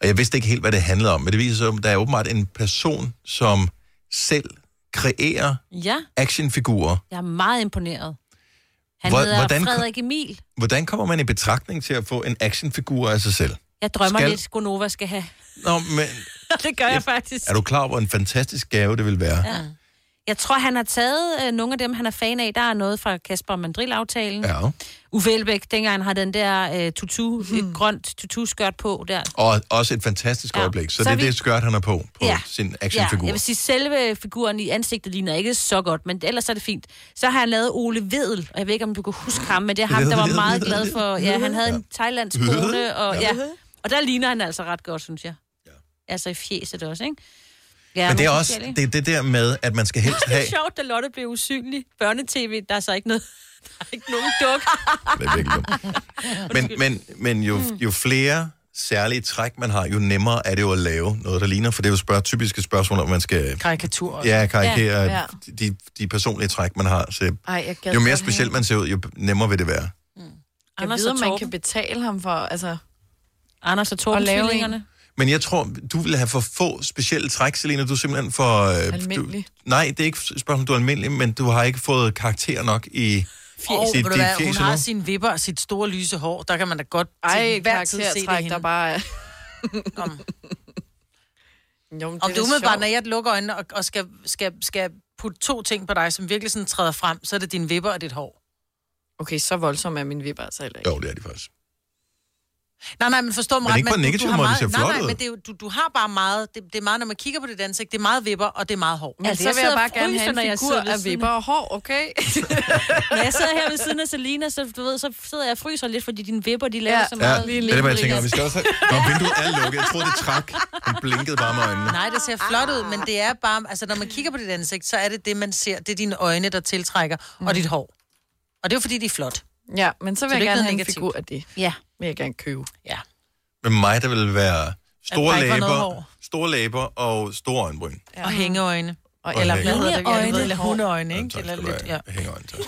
A: Og jeg vidste ikke helt, hvad det handlede om, men det viser sig, at der er åbenbart en person, som selv kreerer
E: Ja,
A: actionfigurer.
E: jeg er meget imponeret. Han
A: Hvor-
E: hedder
A: hvordan-
E: Frederik Emil.
A: Hvordan kommer man i betragtning til at få en actionfigur af sig selv?
E: Jeg drømmer
A: Skal-
E: skal... lidt, Gonova skal have.
A: Nå, men
E: det gør jeg faktisk.
A: er du klar over, hvor en fantastisk gave det vil være?
E: Ja. Jeg tror, han har taget øh, nogle af dem, han er fan af. Der er noget fra Kasper Mandrill-aftalen.
A: Ja.
E: Uffe Elbæk, dengang han har den der øh, tutu,
A: Hmm.
E: mm. grønt tutu-skørt på der.
A: Og også et fantastisk ja. øjeblik. Så,
E: Så
A: det er
E: vi-
A: det skørt, han har på, på ja. sin
E: Ja,
A: actionfigur.
E: jeg vil sige, selve figuren i ansigtet ligner ikke så godt, men ellers er det fint. Så har han lavet Ole Vedel, og jeg ved ikke, om du kan huske ham, men det er ham, der var
G: Vedel,
E: meget
G: Vedel,
E: glad for... Ja, han havde en thailandsk
G: Vedel.
E: kone, og,
G: Ja.
E: ja. og der ligner han altså ret godt, synes jeg. Altså i fjeset også, ikke? Ja,
A: Men det er
E: nogle
A: også
E: forskellige.
A: det, er det der med, at man skal helst
E: Det
A: have...
E: er sjovt, da Lotte blev usynlig. Børnetv, der er så ikke noget... Der er ikke nogen duk.
A: Men, men, men jo,
E: Mm.
A: jo flere særlige træk, man har, jo nemmere er det jo at lave noget, der ligner. For det er jo spørg- typiske spørgsmål, om man skal...
C: Karikatur. også.
A: Ja, karikere
C: Ja, ja.
A: De, de personlige træk, man har. Så
D: Ej, jeg gad
A: jo mere
D: godt
A: specielt
D: have-
A: man ser ud, jo nemmere vil det være.
D: Jeg
E: Anders
D: ved,
E: og
D: om man
E: Torben.
D: kan betale ham for, altså...
E: Anders og
D: Torben
E: tvillingerne.
A: Men jeg tror, du vil have for få specielle træk, Selina. Du er simpelthen for... Øh,
D: Almindelig.
A: Du, nej, det er ikke et spørgsmål, om du er almindelig, men du har ikke fået karakter nok i...
C: Og
A: i
C: ved du
A: dit
C: hvad, hun
A: fjes
C: har
A: endnu.
C: sine vipper og sit store lyse hår. Der kan man da godt
D: Ej,
C: til hver tid se det
D: karaktertræk,
C: hende.
D: der bare er...
C: Om.
D: Jo, men det
C: Om
D: er
C: du
D: da
C: umiddelbart,
D: sjovt.
C: når jeg lukker øjnene og, og skal, skal, skal putte to ting på dig, som virkelig sådan træder frem, så er det dine vipper og dit hår.
D: Okay, så voldsom er min vipper altså heller ikke.
A: Jo, det er de faktisk.
C: Nej, nej, men forstå mig
A: Men
C: ret.
A: ikke på
C: men
A: en
C: du-
A: negativ
C: du har
A: måde, det
C: meget-
A: ser
C: nej,
A: flot
C: Nej,
A: ud.
C: men det er, jo- du, du har bare meget, det, det er meget, når man kigger på det danske, det er meget vipper, og det er meget hår.
D: Men altså, så vil jeg bare gerne have en figur af vipper og hår, okay?
E: Når jeg sidder her ved siden af Selina, så, du ved, så sidder jeg og fryser lidt, fordi dine vipper, de laver
D: Ja.
E: ja. så
A: Ja,
E: meget.
A: det er det, jeg tænker. om. Vi skal også have... Nå, vinduet er lukket. Jeg troede, det træk. Den blinkede bare med øjnene.
C: Nej, det ser flot ud, men det er bare... Altså, når man kigger på dit ansigt, så er det det, man ser. Det er dine øjne, der tiltrækker, mm. og dit hår. Og det er jo, fordi, de er flot.
D: Ja, men så vil
C: Så det
D: jeg
C: er
D: gerne have
C: ikke
D: en
C: negativt.
D: figur af det.
E: Ja.
D: Vil jeg gerne købe.
C: Ja.
A: Med mig, der vil være
C: At
A: store
C: der ikke var noget
A: læber,
C: hår.
A: store læber og store øjenbryn.
C: Og hængeøjne. Og,
A: Og
C: eller hvad
A: hængeøjne.
C: hedder det? Jeg ved,
A: Hundeøjne.
C: Eller hundeøjne, ikke? Eller lidt, ja.
A: Hængeøjne, tak.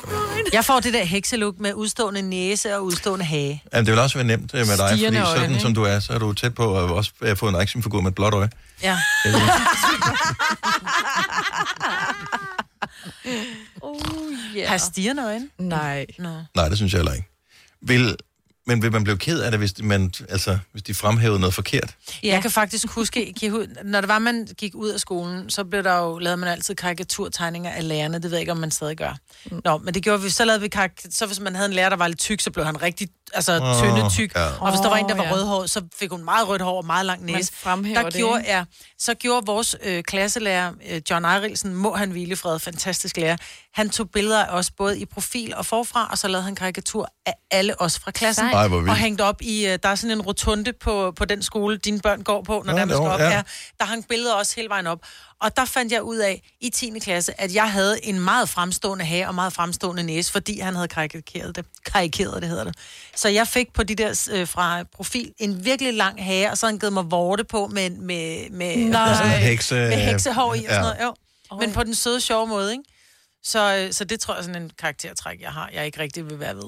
C: Jeg får det der hekseluk med udstående næse og udstående hage.
A: Jamen, det vil også være nemt øh, med dig, fordi
C: Stirrende øjne,
A: sådan
C: ikke?
A: som du er, så er du tæt på at også øh, få en actionfigur med et blåt øje.
C: Ja.
D: Oh, yeah.
C: Har stigende øjne?
D: Nej.
C: Nå.
A: Nej, det synes jeg heller ikke. Vil, men vil man blive ked af det, hvis, man, altså, hvis de fremhævede noget forkert?
C: Ja. Jeg kan faktisk huske, kan I hu- når det var, man gik ud af skolen, så blev der jo, lavede man altid karikaturtegninger af lærerne. Det ved jeg ikke, om man stadig gør. Mm. Nå, men det gjorde vi. Så lavede vi karik- så hvis man havde en lærer, der var lidt tyk, så blev han rigtig altså,
B: Åh,
C: oh, tynde tyk.
B: ja.
C: Ja. Og hvis der var en, der
B: Åh,
C: var oh,
B: ja.
C: ja. rødhåret, så fik hun meget rødt hår og meget lang
D: Man
C: næse.
D: fremhæver
C: der
D: det,
C: gjorde,
D: ikke?
C: Ja, så gjorde vores øh, klasselærer, øh, John Eirilsen, må han hvile i fred, fantastisk lærer. Han tog billeder af os både i profil og forfra, og så lavede han karikatur af alle os fra klassen.
A: Sejt. Ej, hvor vildt.
C: og hængt op i, øh, der er sådan en rotunde på, på den skole, dine børn går på, når
A: Nå,
C: ja, der man skal
A: nå,
C: op
A: ja.
C: ja. her. Der hang billeder også hele vejen op. Og der fandt jeg ud af i 10. klasse, at jeg havde en meget fremstående hage og meget fremstående næse, fordi han havde karikeret det. Karikeret det hedder det. Så jeg fik på de der øh, fra profil en virkelig lang hage, og så havde han givet mig vorte på med, med, med,
A: Nej.
C: med,
A: Sådan en hekse-
C: med heksehår i og
A: Ja.
C: sådan noget. Jo. Men på den søde, sjove måde, ikke? Så, øh, så det tror jeg er sådan en karaktertræk, jeg har, jeg ikke rigtig vil være ved.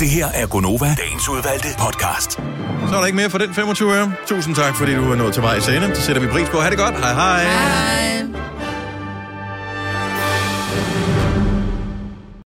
V: Det her er Gunova, dagens udvalgte podcast.
A: Så er der ikke mere for den 25 øre. Tusind tak, fordi du er nået til vej i scenen. Det sætter vi pris på. Ha' det godt. Hej hej. hej.